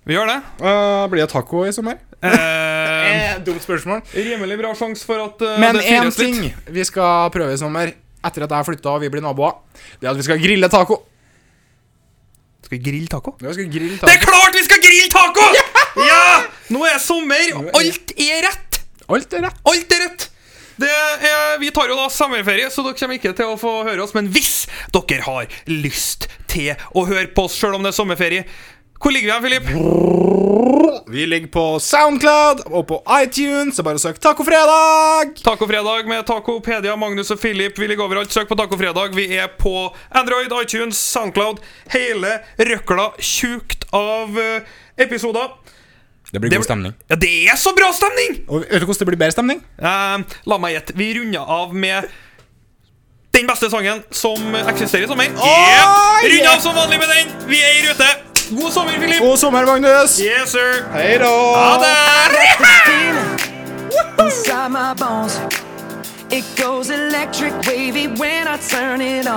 Vi gjør det. Eh, blir det taco i sommer? Eh, Dumt spørsmål. rimelig bra sjanse for at eh, Men det én fyres ting litt. vi skal prøve i sommer, etter at jeg har flytta og vi blir naboer, det er at vi skal grille taco. Skal vi grille taco? Ja, vi skal grille Det er taco. klart vi skal grille taco! Ja! Nå er sommer, og alt er rett. Alt er rett. Alt er rett. Det er, vi tar jo da sommerferie, så dere kommer ikke til å få høre oss. Men hvis dere har lyst til å høre på oss sjøl om det er sommerferie, hvor ligger vi hen, Filip? Vi ligger på Soundcloud og på iTunes, så bare søk Tacofredag. Tacofredag med Tacopedia, Magnus og Philip. Vi ligger overalt. Søk på Tacofredag. Vi er på Android, iTunes, Soundcloud. Hele røkla tjukt av eh, episoder. Det blir Det- Ja, det er så bra stemning! Og vet du hvordan det blir bedre stemning? Eh, la meg gjette. Vi runder av med den beste sangen som eksisterer i sommer. Yep. Runder av som vanlig med den. Vi er i rute. God sommer, Philip. God sommer, Magnus. Yes, sir. Hei da. Ha det! Inside my bones, it goes electric wavy when I turn it on.